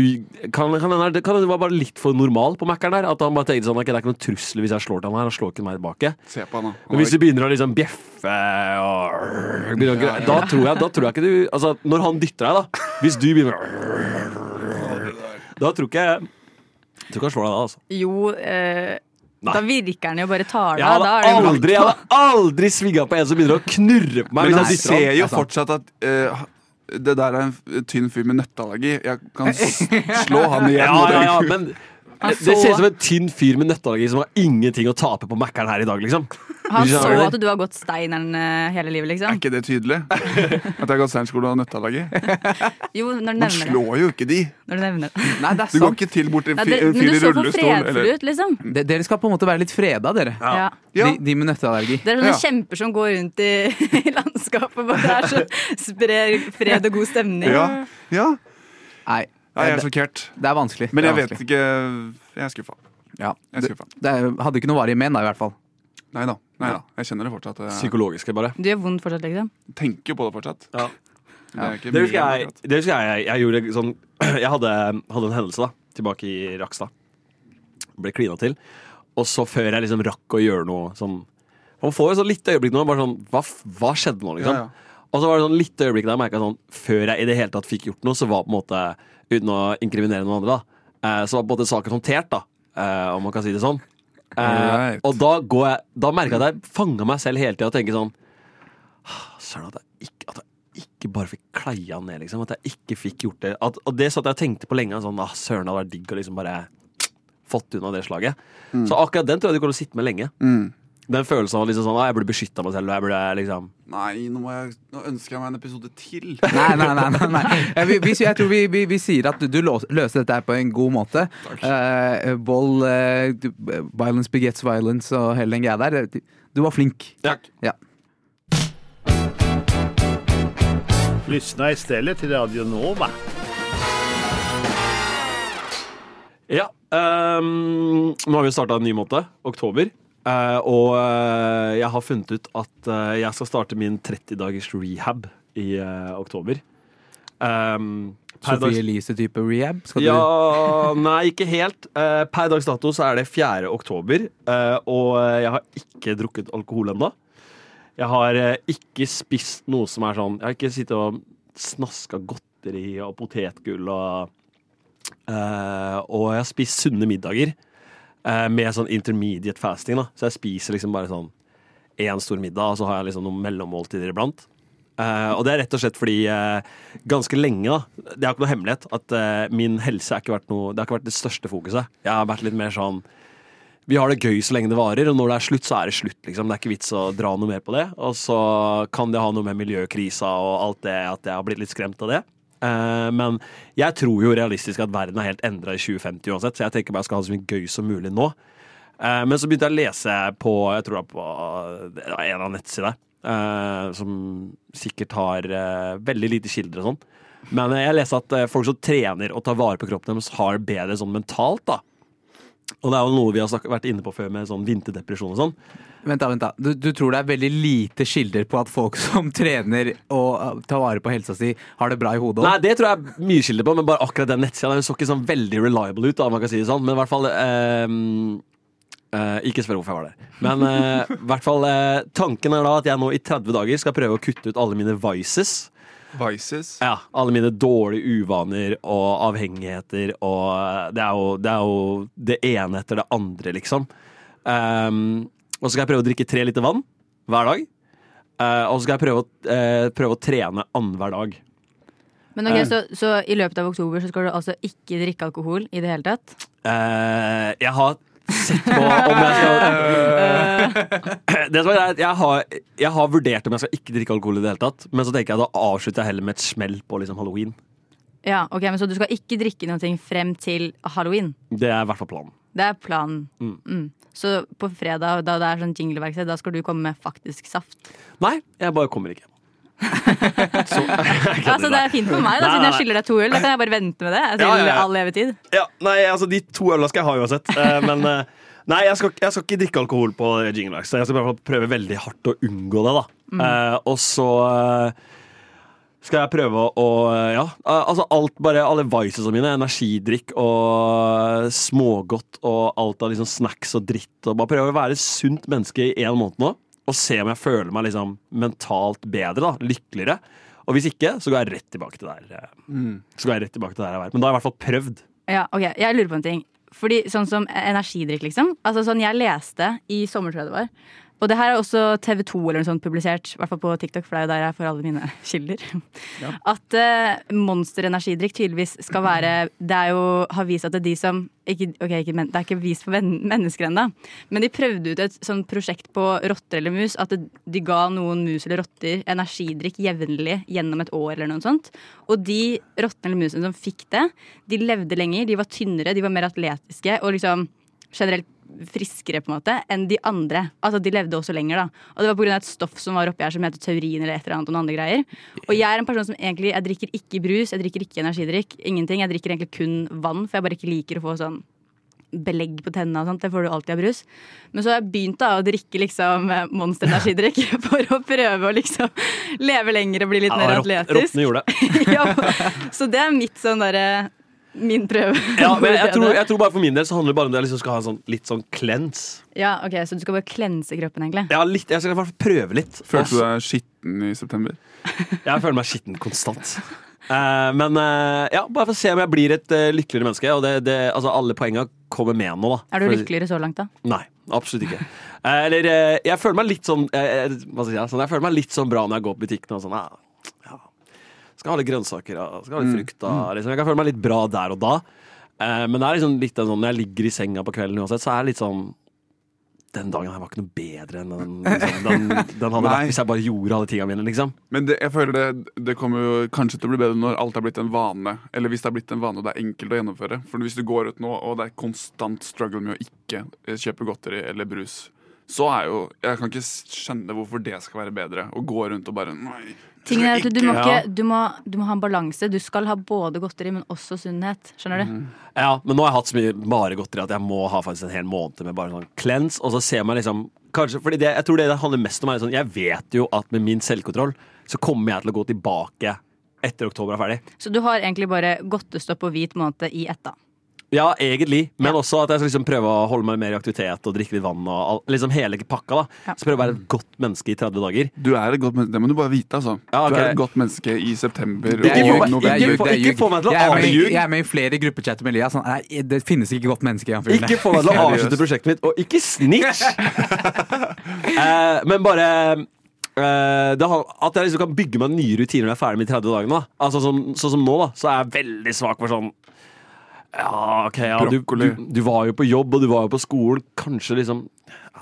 kan, kan, hende- det kan hende du var bare litt for normal på Mækkern der. At han bare tenkte sånn, ok, det er ikke noen trussel hvis jeg slår til han her. Han slår ikke meg tilbake. Se på han, da. Han Men hvis var- du begynner å liksom bjeffe og begynner å, gre- da, tror jeg, da tror jeg ikke du Altså, når han dytter deg, da. Hvis du begynner å Da tror ikke jeg Tror ikke han slår deg da, altså. Jo, eh, Nei. da virker han jo bare tar deg Jeg av. Da hadde er det jo- aldri, jeg hadde aldri svinga på en som begynner å knurre på meg. Men hvis han jeg dytter ser jo Det er sant. fortsatt at eh, det der er en f- tynn fyr med nøtteallergi. Jeg kan s slå han igjen. Ja, og det- ja, ja, men det så- det ser ut som en tynn fyr med nøtteallergi som har ingenting å tape på Mækkern her i dag, liksom. Han Hvis jeg så hører at du har gått Steineren eh, hele livet, Er liksom. ikke det tydelig? At jeg har gått steinskole og nøtteallergi? Jo, når du Man nevner det. slår jo ikke de. Når du nevner det. Nei, det er Du går sant. ikke til bort til en Nei, fi- det en men fyr du i så for rullestol. fredfull Eller, ut, liksom. De, dere skal på en måte være litt freda, dere. Ja. Ja. De, de med nøtteallergi. Det er sånne Ja. kjemper som går rundt i, i landskapet og bare er så sprer fred og god stemning. ja, ja. Nei. Nei, jeg er sjokkert. Det er vanskelig. Men det er jeg vet vanskelig. ikke Jeg er skuffa. Ja. Jeg er Det, skuffa. det er- hadde ikke noe varig men, da, i hvert fall. Nei da. Nei da. Jeg kjenner det fortsatt. Jeg Psykologiske, bare. Du gjør vondt fortsatt, liksom. tenker jo på det fortsatt. Ja. Men Det er ikke Det husker mye jeg, akkurat. det husker jeg, jeg, jeg gjorde sånn Jeg hadde, hadde en hendelse da tilbake i Rakstad. Ble klina til. Og så før jeg liksom rakk å gjøre noe sånn Man får jo sånn litt øyeblikk nå, bare sånn Hva, f- hva skjedde nå, liksom? Ja, ja. Og så var det sånn litt øyeblikk der jeg merket sånn Før jeg i det hele tatt fikk gjort noe, så var på en måte Uten å inkriminere noen andre, da, eh, så var på en måte saken håndtert, da. eh, Om man kan si det sånn. Eh, Alright. Og da, går jeg, da merka jeg at jeg fanga meg selv hele tida og tenker sånn «Ah, Søren, at jeg ikke, at jeg ikke bare fikk kleia ned, liksom. At jeg ikke fikk gjort det. At, og det satt jeg og tenkte på lenge. Sånn, ah, søren, det hadde vært digg å liksom bare fått unna det slaget. Så akkurat den tror jeg du kommer til å sitte med lenge. Mm. Den følelsen av liksom sånn, ah, jeg burde beskytta meg selv. og Jeg burde liksom Nei, nå, må jeg, nå ønsker jeg meg en episode til. Nei, nei, nei. nei, nei. Eh, Vi, vi, jeg tror vi, vi, vi sier at du lås- løser dette her på en god måte. Eh, vold, eh, du- eh, violence begets violence og hele den greia der. Du- Du var flink. Ja. Lyssna istället till Radio Nova. Ja. ehm, nå har vi starta en ny måned, oktober. Eh, og eh, jeg har funnet ut at eh, jeg skal starte min 30 dagers rehab i eh, oktober. Um, Sophie Elise-type rehab. Skal du Ja, nei, ikke helt. Eh, Per dags dato så er det 4. oktober, eh, og jeg har ikke drukket alkohol ennå. Jeg har eh, ikke spist noe som er sånn Jeg har ikke sittet og snaska godteri og potetgull og eh, Og jeg har spist sunne middager eh, med sånn intermediate fasting, da. Så jeg spiser liksom bare sånn én stor middag, og så har jeg liksom noen mellommåltider iblant. Eh, og det er rett og slett fordi eh, ganske lenge, da, det er ikke noe hemmelighet, at eh, min helse har ikke vært noe, det har ikke vært det største fokuset. Jeg har vært litt mer sånn Vi har det gøy så lenge det varer, og når det er slutt, så er det slutt. liksom. Det er ikke vits å dra noe mer på det. Og så kan det ha noe med miljøkrisa og alt det at jeg har blitt litt skremt av det. Eh, men jeg tror jo realistisk at verden er helt endra i 2050 uansett, så jeg tenker bare jeg skal ha det så mye gøy som mulig nå. Eh, Men så begynte jeg å lese på Jeg tror det var på det var en eller annen nettside eh, som sikkert har eh, veldig lite kilder og sånn. Men eh, jeg leste at eh, folk som trener og tar vare på kroppen deres, har det bedre sånn mentalt. da Og det er jo noe vi har snakket, vært inne på før med sånn vinterdepresjon og sånn. Vent da, vent da. Du, du tror det er veldig lite skilder på at folk som trener og eh, tar vare på helsa si, har det bra i hodet? også? Nei, det tror jeg er mye kilder på, men bare akkurat den nettsida den så ikke sånn veldig reliable ut. da, om man kan si det sånn Men i hvert fall eh, eh, Ikke spør hvorfor jeg var der. Men eh, i hvert fall eh, tanken er da at jeg nå i 30 dager skal prøve å kutte ut alle mine vices. Vices. Ja, Alle mine dårlige uvaner og avhengigheter og eh, Det er jo det, er jo det ene etter det andre, liksom. Ehm, og så skal jeg prøve å drikke tre liter vann hver dag. Eh, og så skal jeg prøve å, eh, prøve å trene annenhver dag. Men ok, så, så i løpet av oktober så skal du altså ikke drikke alkohol i det hele tatt? Eh, jeg har sett på om jeg skal Det som er greit, jeg har, jeg har vurdert om jeg skal ikke drikke alkohol i det hele tatt. Men så tenker jeg da avslutter jeg heller med et smell på liksom halloween. Ja, ok, men Så du skal ikke drikke noe frem til halloween? Det er i hvert fall planen. Det er planen. Mm. Mm. Så på fredag, da det er sånn jingleverksted, da skal du komme med faktisk saft? Nei, jeg bare kommer ikke. Så, jeg Ja, så kødder, Altså, det nei. er fint for meg, Nei, da, siden nei, jeg nei. skylder deg to øl. Da kan jeg bare vente med det til Ja, ja, ja. all levetid. Ja, nei, altså De to ølene skal jeg ha uansett. Eh, men eh, nei, jeg skal, jeg skal ikke drikke alkohol på Jingle Wax. Jeg skal i hvert fall prøve veldig hardt å unngå det. da Eh, Og så eh, skal jeg prøve å å, Ja, eh, altså alt bare alle vicesene mine. Energidrikk og eh, smågodt og alt av liksom snacks og dritt. Og bare prøve å være et sunt menneske i en måned nå. Og se om jeg føler meg liksom mentalt bedre. da, Lykkeligere. Og hvis ikke, så går jeg rett tilbake til der. eh, Så går jeg rett tilbake til der jeg var. Men da har jeg i hvert fall prøvd. Ja, ok, Jeg lurer på en ting. Fordi Sånn som energidrikk, liksom. Altså sånn Jeg leste i sommer, tror jeg det var. Og det her er også TV2 eller noe sånt publisert, i hvert fall på TikTok, for det er jo der jeg får alle mine kilder. At eh, monsterenergidrikk tydeligvis skal være Det er jo, har vist at det er de som ikke, Ok, ikke, men, det er ikke vist for ven- mennesker ennå, men de prøvde ut et sånt prosjekt på rotter eller mus. At det, de ga noen mus eller rotter energidrikk jevnlig gjennom et år eller noe sånt. Og de rottene eller musene som fikk det, de levde lenger, de var tynnere, de var mer atletiske og liksom generelt friskere på en måte enn de andre. Altså De levde også lenger. da Og det var pga. et stoff som var oppi her som heter taurin eller et eller annet. Og noen andre greier Og jeg er en person som egentlig Jeg drikker ikke brus, jeg drikker ikke energidrikk. Ingenting. Jeg drikker egentlig kun vann, for jeg bare ikke liker å få sånn belegg på tennene. og sånt, Det får du alltid av brus. Men så har jeg begynt da å drikke liksom eh, Monster energidrikk for å prøve å liksom leve lenger og bli litt mer atletisk. Råtne gjorde det. ja, så det er mitt sånn derre Min prøve. Ja, men jeg tror, jeg tror bare For min del så handler det bare om det jeg liksom skal ha en sånn, litt sånn cleanse. ja, ok, Så du skal bare klense kroppen, egentlig? Ja, litt, jeg skal i hvert fall prøve litt. Følte du Og så- deg skitten i september? Jeg føler meg skitten konstant. Eh, men eh, ja, bare for å se om jeg blir et eh, lykkeligere menneske. Og det, det, altså, alle poenga kommer med nå, da. Er du For- lykkeligere så langt, da? Nei, absolutt ikke. Eh, Eller eh, jeg føler meg litt sånn eh, eh, Hva skal jeg si? Sånn, Jeg føler meg litt sånn bra når jeg går på butikken og sånn ja, ja. Skal ha litt grønnsaker og skal ha litt frukt og liksom. Jeg kan føle meg litt bra der og da. Eh, Men det er liksom litt sånn når jeg ligger i senga på kvelden uansett, så er det litt sånn Den dagen her var ikke noe bedre enn den, liksom, den, den hadde Nei. vært hvis jeg bare gjorde alle tinga mine, liksom. Men det, jeg føler det, det kommer jo kanskje til å bli bedre når alt er blitt en vane. Eller hvis det er blitt en vane og det er enkelt å gjennomføre. For hvis du går ut nå og det er konstant struggle med å ikke eh, kjøpe godteri eller brus, så er jo Jeg kan ikke s- skjønne hvorfor det skal være bedre. Å gå rundt og bare Nei. Tingen er at Du må, Ja. ikke, du må, du må ha en balanse. Du skal ha både godteri, men også sunnhet. Skjønner Mm. du? Ja, men nå har jeg hatt så mye bare godteri at jeg må ha faktisk en hel måned med bare sånn cleanse. Og så ser man liksom kanskje, fordi det, Jeg tror det det handler mest om er sånn, jeg vet jo at med min selvkontroll så kommer jeg til å gå tilbake etter oktober er ferdig. Så du har egentlig bare godtestopp og hvit måned i ett, da. Ja, egentlig, men også at jeg skal liksom prøve å holde meg mer i aktivitet og drikke litt vann. og all, liksom hele pakka da. Ja. Så prøve å være et godt menneske i 30 dager. Du er et godt menneske. Det må du bare vite, altså. Ja, ok. Du er et godt menneske i september Det er Ikke få ljug, meg- det er ikke ljug, få- det er ikke ljug. få meg til å Jeg er med i- avljuge. Jeg er med i flere gruppechatter med Elias. Han, nei, det finnes ikke godt menneske i han fyren der. Ikke få meg til å avslutte prosjektet mitt, og ikke snitch! Eh, men bare eh, det har, At jeg liksom kan bygge meg nye rutiner når jeg er ferdig med de 30 dagene. Da. Altså, sånn, sånn som nå, da, så er jeg veldig svak for sånn ja, ok, ja, du, Brokkoli. du, du var jo på jobb, og du var jo på skolen. Kanskje liksom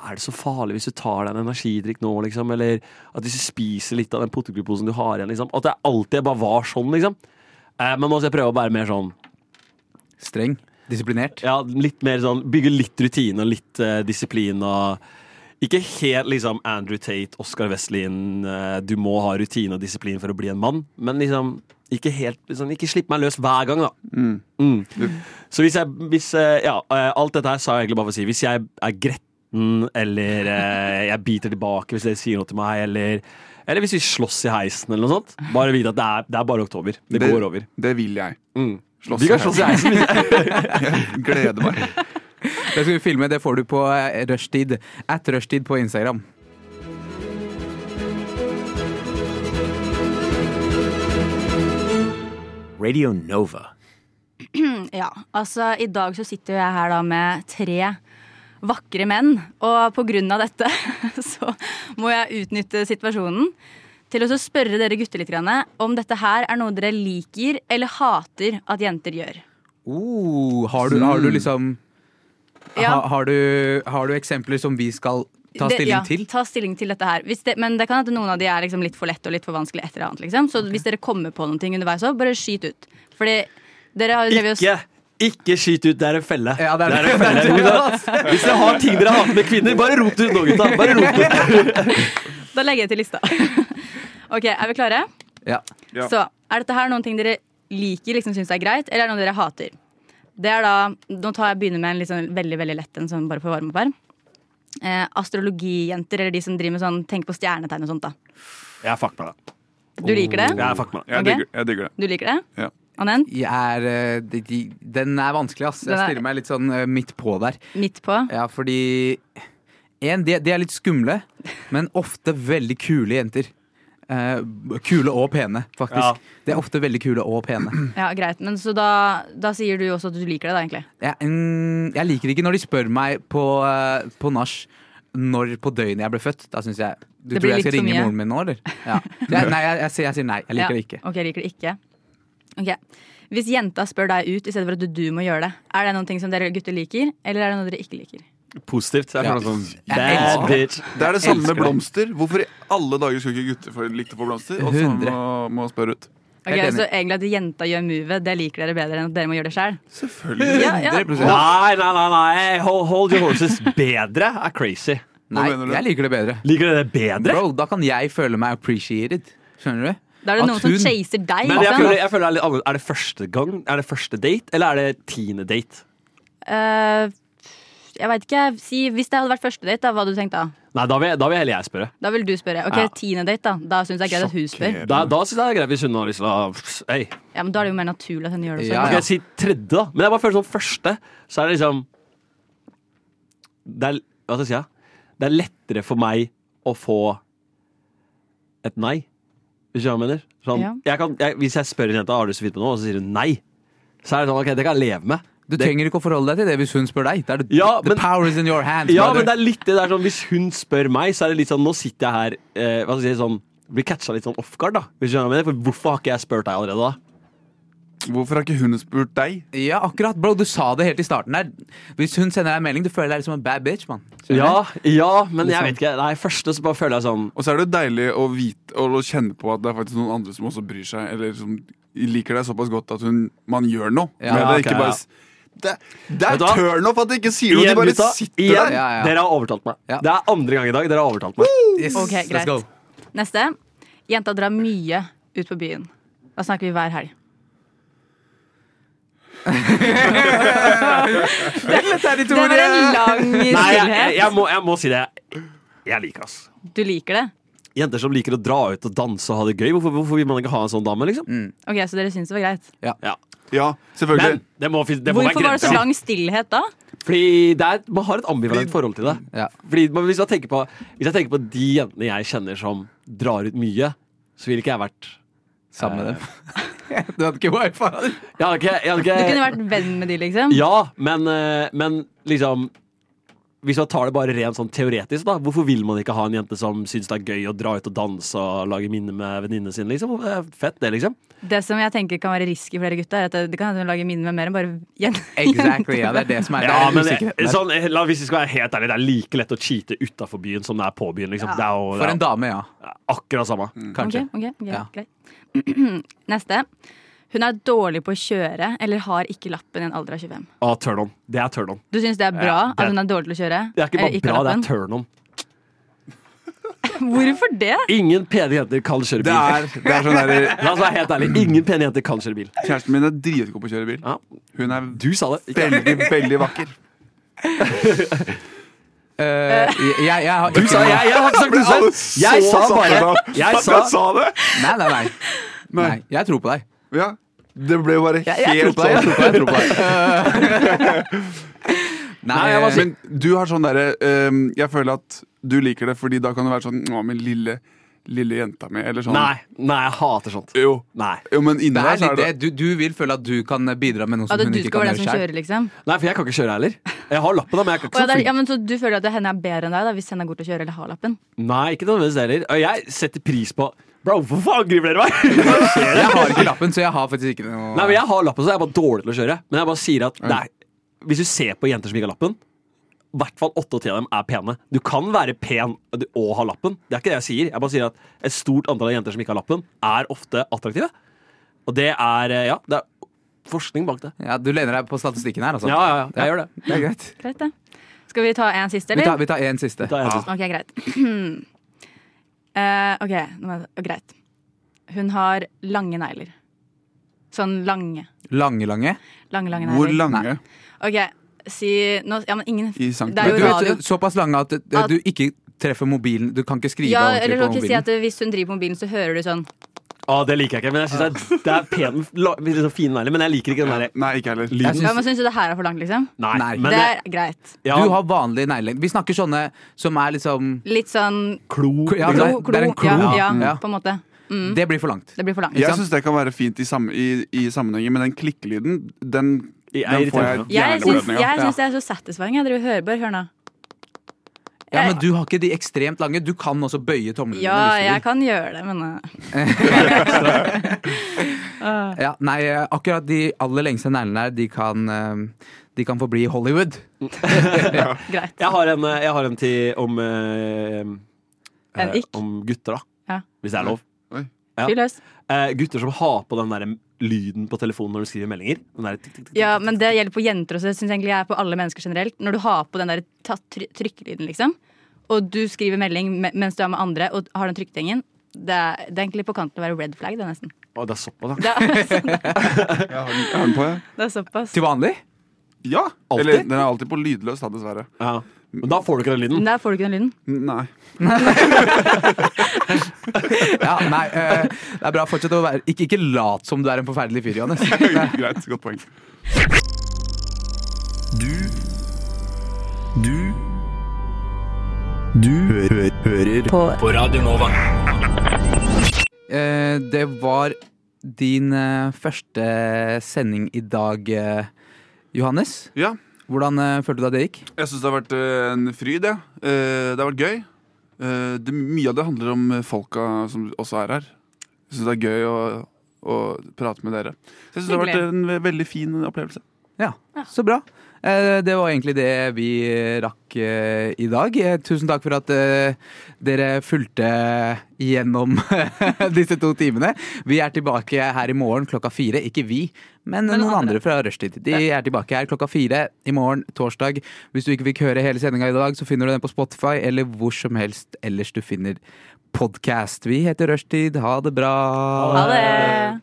Er det så farlig hvis du tar deg en energidrikk nå, liksom? Eller at hvis du spiser litt av den potetgullposen du har igjen, liksom? At jeg alltid bare var sånn, liksom. Eh, men nå skal jeg prøve å være mer sånn Streng. Disiplinert. ja, litt mer sånn Bygge litt rutine og litt eh, disiplin og Ikke helt liksom Andrew Tate, Oscar Westlin eh, Du må ha rutine og disiplin for å bli en mann, men liksom ikke helt liksom, Ikke slipp meg løs hver gang, da. Mm. Så hvis jeg hvis, eh, Ja, eh, alt dette her sa jeg egentlig bare for å si. Hvis jeg er gretten, eller eh, jeg biter tilbake hvis dere sier noe til meg, eller eller hvis vi slåss i heisen, eller noe sånt. Bare vite at det er, det er bare oktober. Det, Det- går over. Det vil jeg. Mm. Slåss Vi kan slåss i heisen. hvis- Gleder meg. Det skal vi filme, det får du på eh, rushtid. At rushtid på Instagram. Radio Nova. Ja, altså I dag så sitter jo jeg her da med tre vakre menn. Og på grunn av dette så må jeg utnytte situasjonen til å så spørre dere gutter litt grann, om dette her er noe dere liker eller hater at jenter gjør. Oh, har, du, har du liksom Ja. ha, har, du, har du eksempler som vi skal ta Det- stilling ja, til? Ta stilling til dette her. Hvis det, men det kan hende noen av de er liksom litt for lett og litt for vanskelig. etter annet, liksom. Så hvis dere kommer på noen ting underveis òg, bare skyt ut. Fordi dere har jo drevet og- Ikke, ikke skyt ut, det er en felle. Ja, det er det er en det. felle. gutta. Hvis dere har ting dere hater med kvinner, bare rot det ut nå, gutta. Bare rot det ut. Da legger jeg til lista. ok, Er vi klare? Ja. Ja. Så er dette her noen ting dere liker, liksom syns er greit, eller er det noe dere hater? Det er da, Nå tar jeg begynner med en litt sånn veldig veldig lett en, sånn bare for å varme opp her. Eh, astrologijenter, eller de som driver med sånn tenker på stjernetegn og sånt. da. Jeg fuck med det. Du Oh, liker det? Jeg fuck med det. Jeg Ok. digger, jeg digger det. Du liker det? Ja. Anent? Jeg er, eh, de, de, den er vanskelig, ass. Jeg Den er- stiller meg litt sånn eh, midt på der. Midt på? Ja, fordi En, de, de er litt skumle, men ofte veldig kule jenter. Eh, kule og pene, Ja. faktisk. De er ofte veldig kule og pene. Ja, Greit. Men Så da, da sier du jo også at du liker det, da, egentlig. Jeg, mm, jeg liker ikke når de spør meg på, eh, på nach når på døgnet jeg ble født. Da syns jeg Du Det tror blir jeg skal litt for ringe mye. moren min nå, eller? Ja. Jeg, nei, jeg, jeg, sier- jeg sier nei. Jeg liker det ikke. Ja. Ok, liker det ikke. Ok. Hvis jenta spør deg ut i stedet for at du, du må gjøre det, er det noen ting som dere gutter liker, eller er det noe dere ikke liker? Positivt. Jeg føler Ja. sånn Jeg elsker Bad bitch. Det er det samme elsker med det. blomster. Hvorfor i alle dager skulle ikke gutter få- likte å få blomster? Og så 100. må, må spørre ut. Ok, Helt enig. Så egentlig at jenta gjør movet, det liker dere bedre enn at dere må gjøre det sjøl? Selvfølgelig. Ja, ja. 100%. Nei, nei, nei, nei. Hold, hold your horses. Bedre er crazy. Nei, mener du? jeg liker det bedre. Liker dere det bedre? Bro, da kan jeg føle meg appreciated. Skjønner du? Da er det At noen som hun- chaser deg. altså. Men ikke jeg sant? føler, jeg føler det er litt annerledes. Er det første gang? Er det første date, eller er det tiende date? Eh, jeg veit ikke. Si, hvis det hadde vært første date, da, hva hadde du tenkt da? Nei, da vil, da vil heller jeg spørre. Da vil du spørre. Ok, Ja. tiende date, da. Da syns jeg det er greit at hun spør. Da, da syns jeg det er greit hvis hun har lyst til å Hei. Ja, men da er det jo mer naturlig at hun gjør det Ja, også. Skal jeg si tredje, da? Men jeg bare føler som første, så er det liksom Det er, hva skal jeg si, ja? det er lettere for meg å få et nei, hvis du skjønner hva jeg mener. Sånn, Ja. jeg kan, jeg, hvis jeg spør en jente har du lyst til å flytte med noen, og så sier hun nei, så er det sånn OK, det kan jeg leve med. Du trenger ikke å forholde deg til det hvis hun spør deg. Det er det, Ja, the men- power is in your hands, Ja, men brother. det er litt det der sånn Hvis hun spør meg, så er det litt sånn Nå sitter jeg her eh, Hva skal jeg si sånn Blir catcha litt sånn off guard, da. Hvis du skjønner hva jeg mener, for hvorfor har ikke jeg spurt deg allerede, da? Hvorfor har ikke hun spurt deg? Ja, akkurat, bro. Du sa det helt i starten der. Hvis hun sender deg en melding, du føler deg som en bad bitch, mann. Skjønner Ja, du? ja, men jeg vet ikke. Nei, første så bare føler jeg sånn Og så er det deilig å vite og å kjenne på at det er faktisk noen andre som også bryr seg, eller som liker deg såpass godt at hun, man gjør noe. Ja, med ok, det, ja. ikke bare, s- det, det Vet er du hva? turn off at de ikke sier noe, de bare gutta, sitter igjen, der. Ja, ja. Dere har overtalt meg. Ja. Det er andre gang i dag dere har overtalt meg. Yes, Ok, greit. Let's go. Neste. Jenta drar mye ut på byen. Da snakker vi hver helg. Det var en lang Nei, jeg, jeg, stillhet. jeg, må, jeg må si det. Jeg liker ass. Du liker det? Jenter som liker å dra ut og danse og ha det gøy. Hvorfor, hvorfor vil man ikke ha en sånn dame? liksom? Ok, Så dere syns det var greit? Ja. Ja, selvfølgelig. Men det må, fin- det må være Hvorfor var det så grenser. lang stillhet da? Fordi det er, man har et ambivalent forhold til det. Ja. Fordi man, hvis, jeg tenker på, hvis jeg tenker på de jentene jeg kjenner som drar ut mye, så ville ikke jeg vært Sammen med dem. du hadde ikke wifi. Jeg hadde ikke, jeg hadde ikke Du kunne vært venn med de, liksom. Ja, men, eh, men liksom Hvis man tar det bare rent sånn teoretisk, da. Hvorfor vil man ikke ha en jente som syns det er gøy å dra ut og danse og lage minner med venninnene sine, liksom? Det er Fett, det, liksom. Det som jeg tenker kan være risky for dere gutta, er at det- det kan hende hun lager minner med mer enn bare jen Exactly, ja, det er det som er, det Ja, er men det, usikkerheten der. sånn, eh, la, hvis vi skal være helt ærlige, det er like lett å cheate utafor byen som det er på byen, liksom. Det er jo For en det dame, ja. er akkurat samme. Kanskje. Ok, ok, ok, Ja. greit. Neste. Hun er dårlig på å kjøre eller har ikke lappen i en alder av 25. Ah, turn on. Det er turn on. Du syns det er bra Ja, det- at hun er dårlig til å kjøre? Det er ikke bare eller bra, har det er lappen? turn on. Hvorfor det? Ingen pene jenter kan kjøre Det bil. er, det er sånn der, La oss være helt ærlige. Ingen pene jenter kan kjøre bil. Kjæresten min er dritgod på å kjøre bil. Ja, Hun er du sa det. Ikke. veldig, veldig vakker. Eh, jeg, jeg, jeg har Du sa jeg, jeg har ikke sagt du sa det. Jeg sa bare Jeg sa det! Nei, nei, nei. nei. Jeg tror på deg. Ja, det ble bare helt sånn. Jeg, jeg tror på deg. Jeg tror på deg, jeg tror på deg. Nei, Nei, jeg var men- Men du har sånn derre ehm, Jeg føler at du liker det, fordi da kan det være sånn Å, min lille, lille jenta mi, eller sånn. Nei, nei, jeg hater sånt. Jo, Nei. jo men inni det der er så litt er det det. Du, du vil føle at du kan bidra med noe som At hun du ikke skal kan være gjøre den som selv. kjører, liksom? Nei, for jeg kan ikke kjøre heller. Jeg har lappen, da, men jeg kan Å, ikke sånn så ja, det er, flink. ja, men så du føler at henne er bedre enn deg da, hvis henne er god til å kjøre eller har lappen? Nei, ikke nødvendigvis heller. Og jeg setter pris på Bro, hvorfor angriper dere meg? Hva skjer det? Jeg har ikke lappen, så jeg har faktisk ikke noe Nei, men Jeg har lappen, så jeg er bare dårlig til å kjøre. Men jeg bare sier at det er- hvis du ser på jenter som ikke har lappen i hvert fall åtte og ti av dem er pene. Du kan være pen og ha lappen. Det er ikke det jeg sier. Jeg bare sier at Et stort antall av jenter som ikke har lappen, er ofte attraktive. Og det er eh, Ja, det er forskning bak det. ja, Du lener deg på statistikken her, altså? Ja, ja, ja. Jeg gjør det. Det er greit. Greit, det. Skal vi ta en siste, Vi tar, eller? vi tar en siste. Da er jeg sist. Ok, greit. Eh, ok, nå må jeg- greit. Hun har lange negler. Sånn lange. Lange, lange. Lange, lange negler. Hvor lange? Ok, si nå, Ja, men ingen I centimeter. Det er Men jo du radio. vet, såpass lange at eh, At- du ikke treffer mobilen. Du kan ikke skrive Ja, ordentlig på eller kan ikke si mobilen. at hvis hun driver på mobilen, så hører du sånn Ah, det liker jeg ikke, men jeg synes det er, det er pen, la, liksom fine negler. Men jeg liker ikke den derre Nei, ikke heller. Jeg lyden. synes- Ja, men syns du det her er for langt, liksom? Nei, Nei. men det det, er greit. ja, Du har vanlig neglelengde. Vi snakker sånne som er liksom Litt sånn klo Ja, det klo, er- det er en klo. klo. Ja, ja, Ja. på en måte. Det blir for langt. Det blir for langt. Ikke Jeg sant? syns det kan være fint i, sam i, i sammenhengen, men den klikkelyden, den, Jeg er den får jeg irriterende. Jeg jævlig syns overraskning av. jeg syns det er så satisfying. Jeg driver og hører bare hør nå. Ja, Men du har ikke de ekstremt lange. Du kan også bøye tomlene. Eh. Ja, hvis du vil. jeg kan gjøre det, men eh, Ja, nei, eh, akkurat de aller lengste neglene her, de kan, eh, de kan forbli i Hollywood. greit. Jeg har en, eh, jeg har en til om eh, En eh, ikk? Om gutter, da. Ja. Hvis det er lov. Oi. Ja. Fyr løs. Eh, gutter som har på den der lyden på telefonen når du skriver meldinger. Den der, tikk, tikk, tikk, tikk. Ja, men det gjelder på jenter også. Synes jeg egentlig jeg er på alle mennesker generelt Når du har på den der ta- try- trykkelyden, liksom, og du skriver melding me- mens du er med andre og har den trykketingen, det, er- det er egentlig på kanten til å være red flag, det, er nesten. Å, det er såpass, ja. Det er, Jeg har den, jeg har den på, jeg. det er såpass. Til vanlig? Ja! Alltid? Eller den er alltid på lydløs, da, dessverre. ja. Men da får du ikke den lyden. Men Der får du ikke den lyden. Nei. Ja, nei, eh, det er bra. Fortsett å være Ikke, ikke lat som du er en forferdelig fyr, Johannes. Greit. Godt poeng. Du Du Du hø hø hører på. på Radio Nova. Eh, det var din eh, første sending i dag, eh, Johannes. Ja, Hvordan eh, følte du deg det gikk? jeg syns det har vært eh, en fryd, jeg. Eh, Det har vært gøy. Eh, Det, mye av det handler om eh, folka som også er her. Jeg syns det er gøy å, å prate med dere. Så jeg syns det har vært Hyggelig. en ve- veldig fin opplevelse. Ja, så bra. Eh, Det var egentlig det vi rakk eh, i dag. Eh, Tusen takk for at eh, dere fulgte gjennom disse to timene. Vi er tilbake her i morgen klokka fire. Ikke vi, men, noen andre fra rushtid. De er tilbake her klokka fire i morgen, torsdag. Hvis du ikke fikk høre hele sendinga i dag, så finner du den på Spotify eller hvor som helst ellers du finner podkast. Vi heter Rushtid. Ha det bra. Ha det!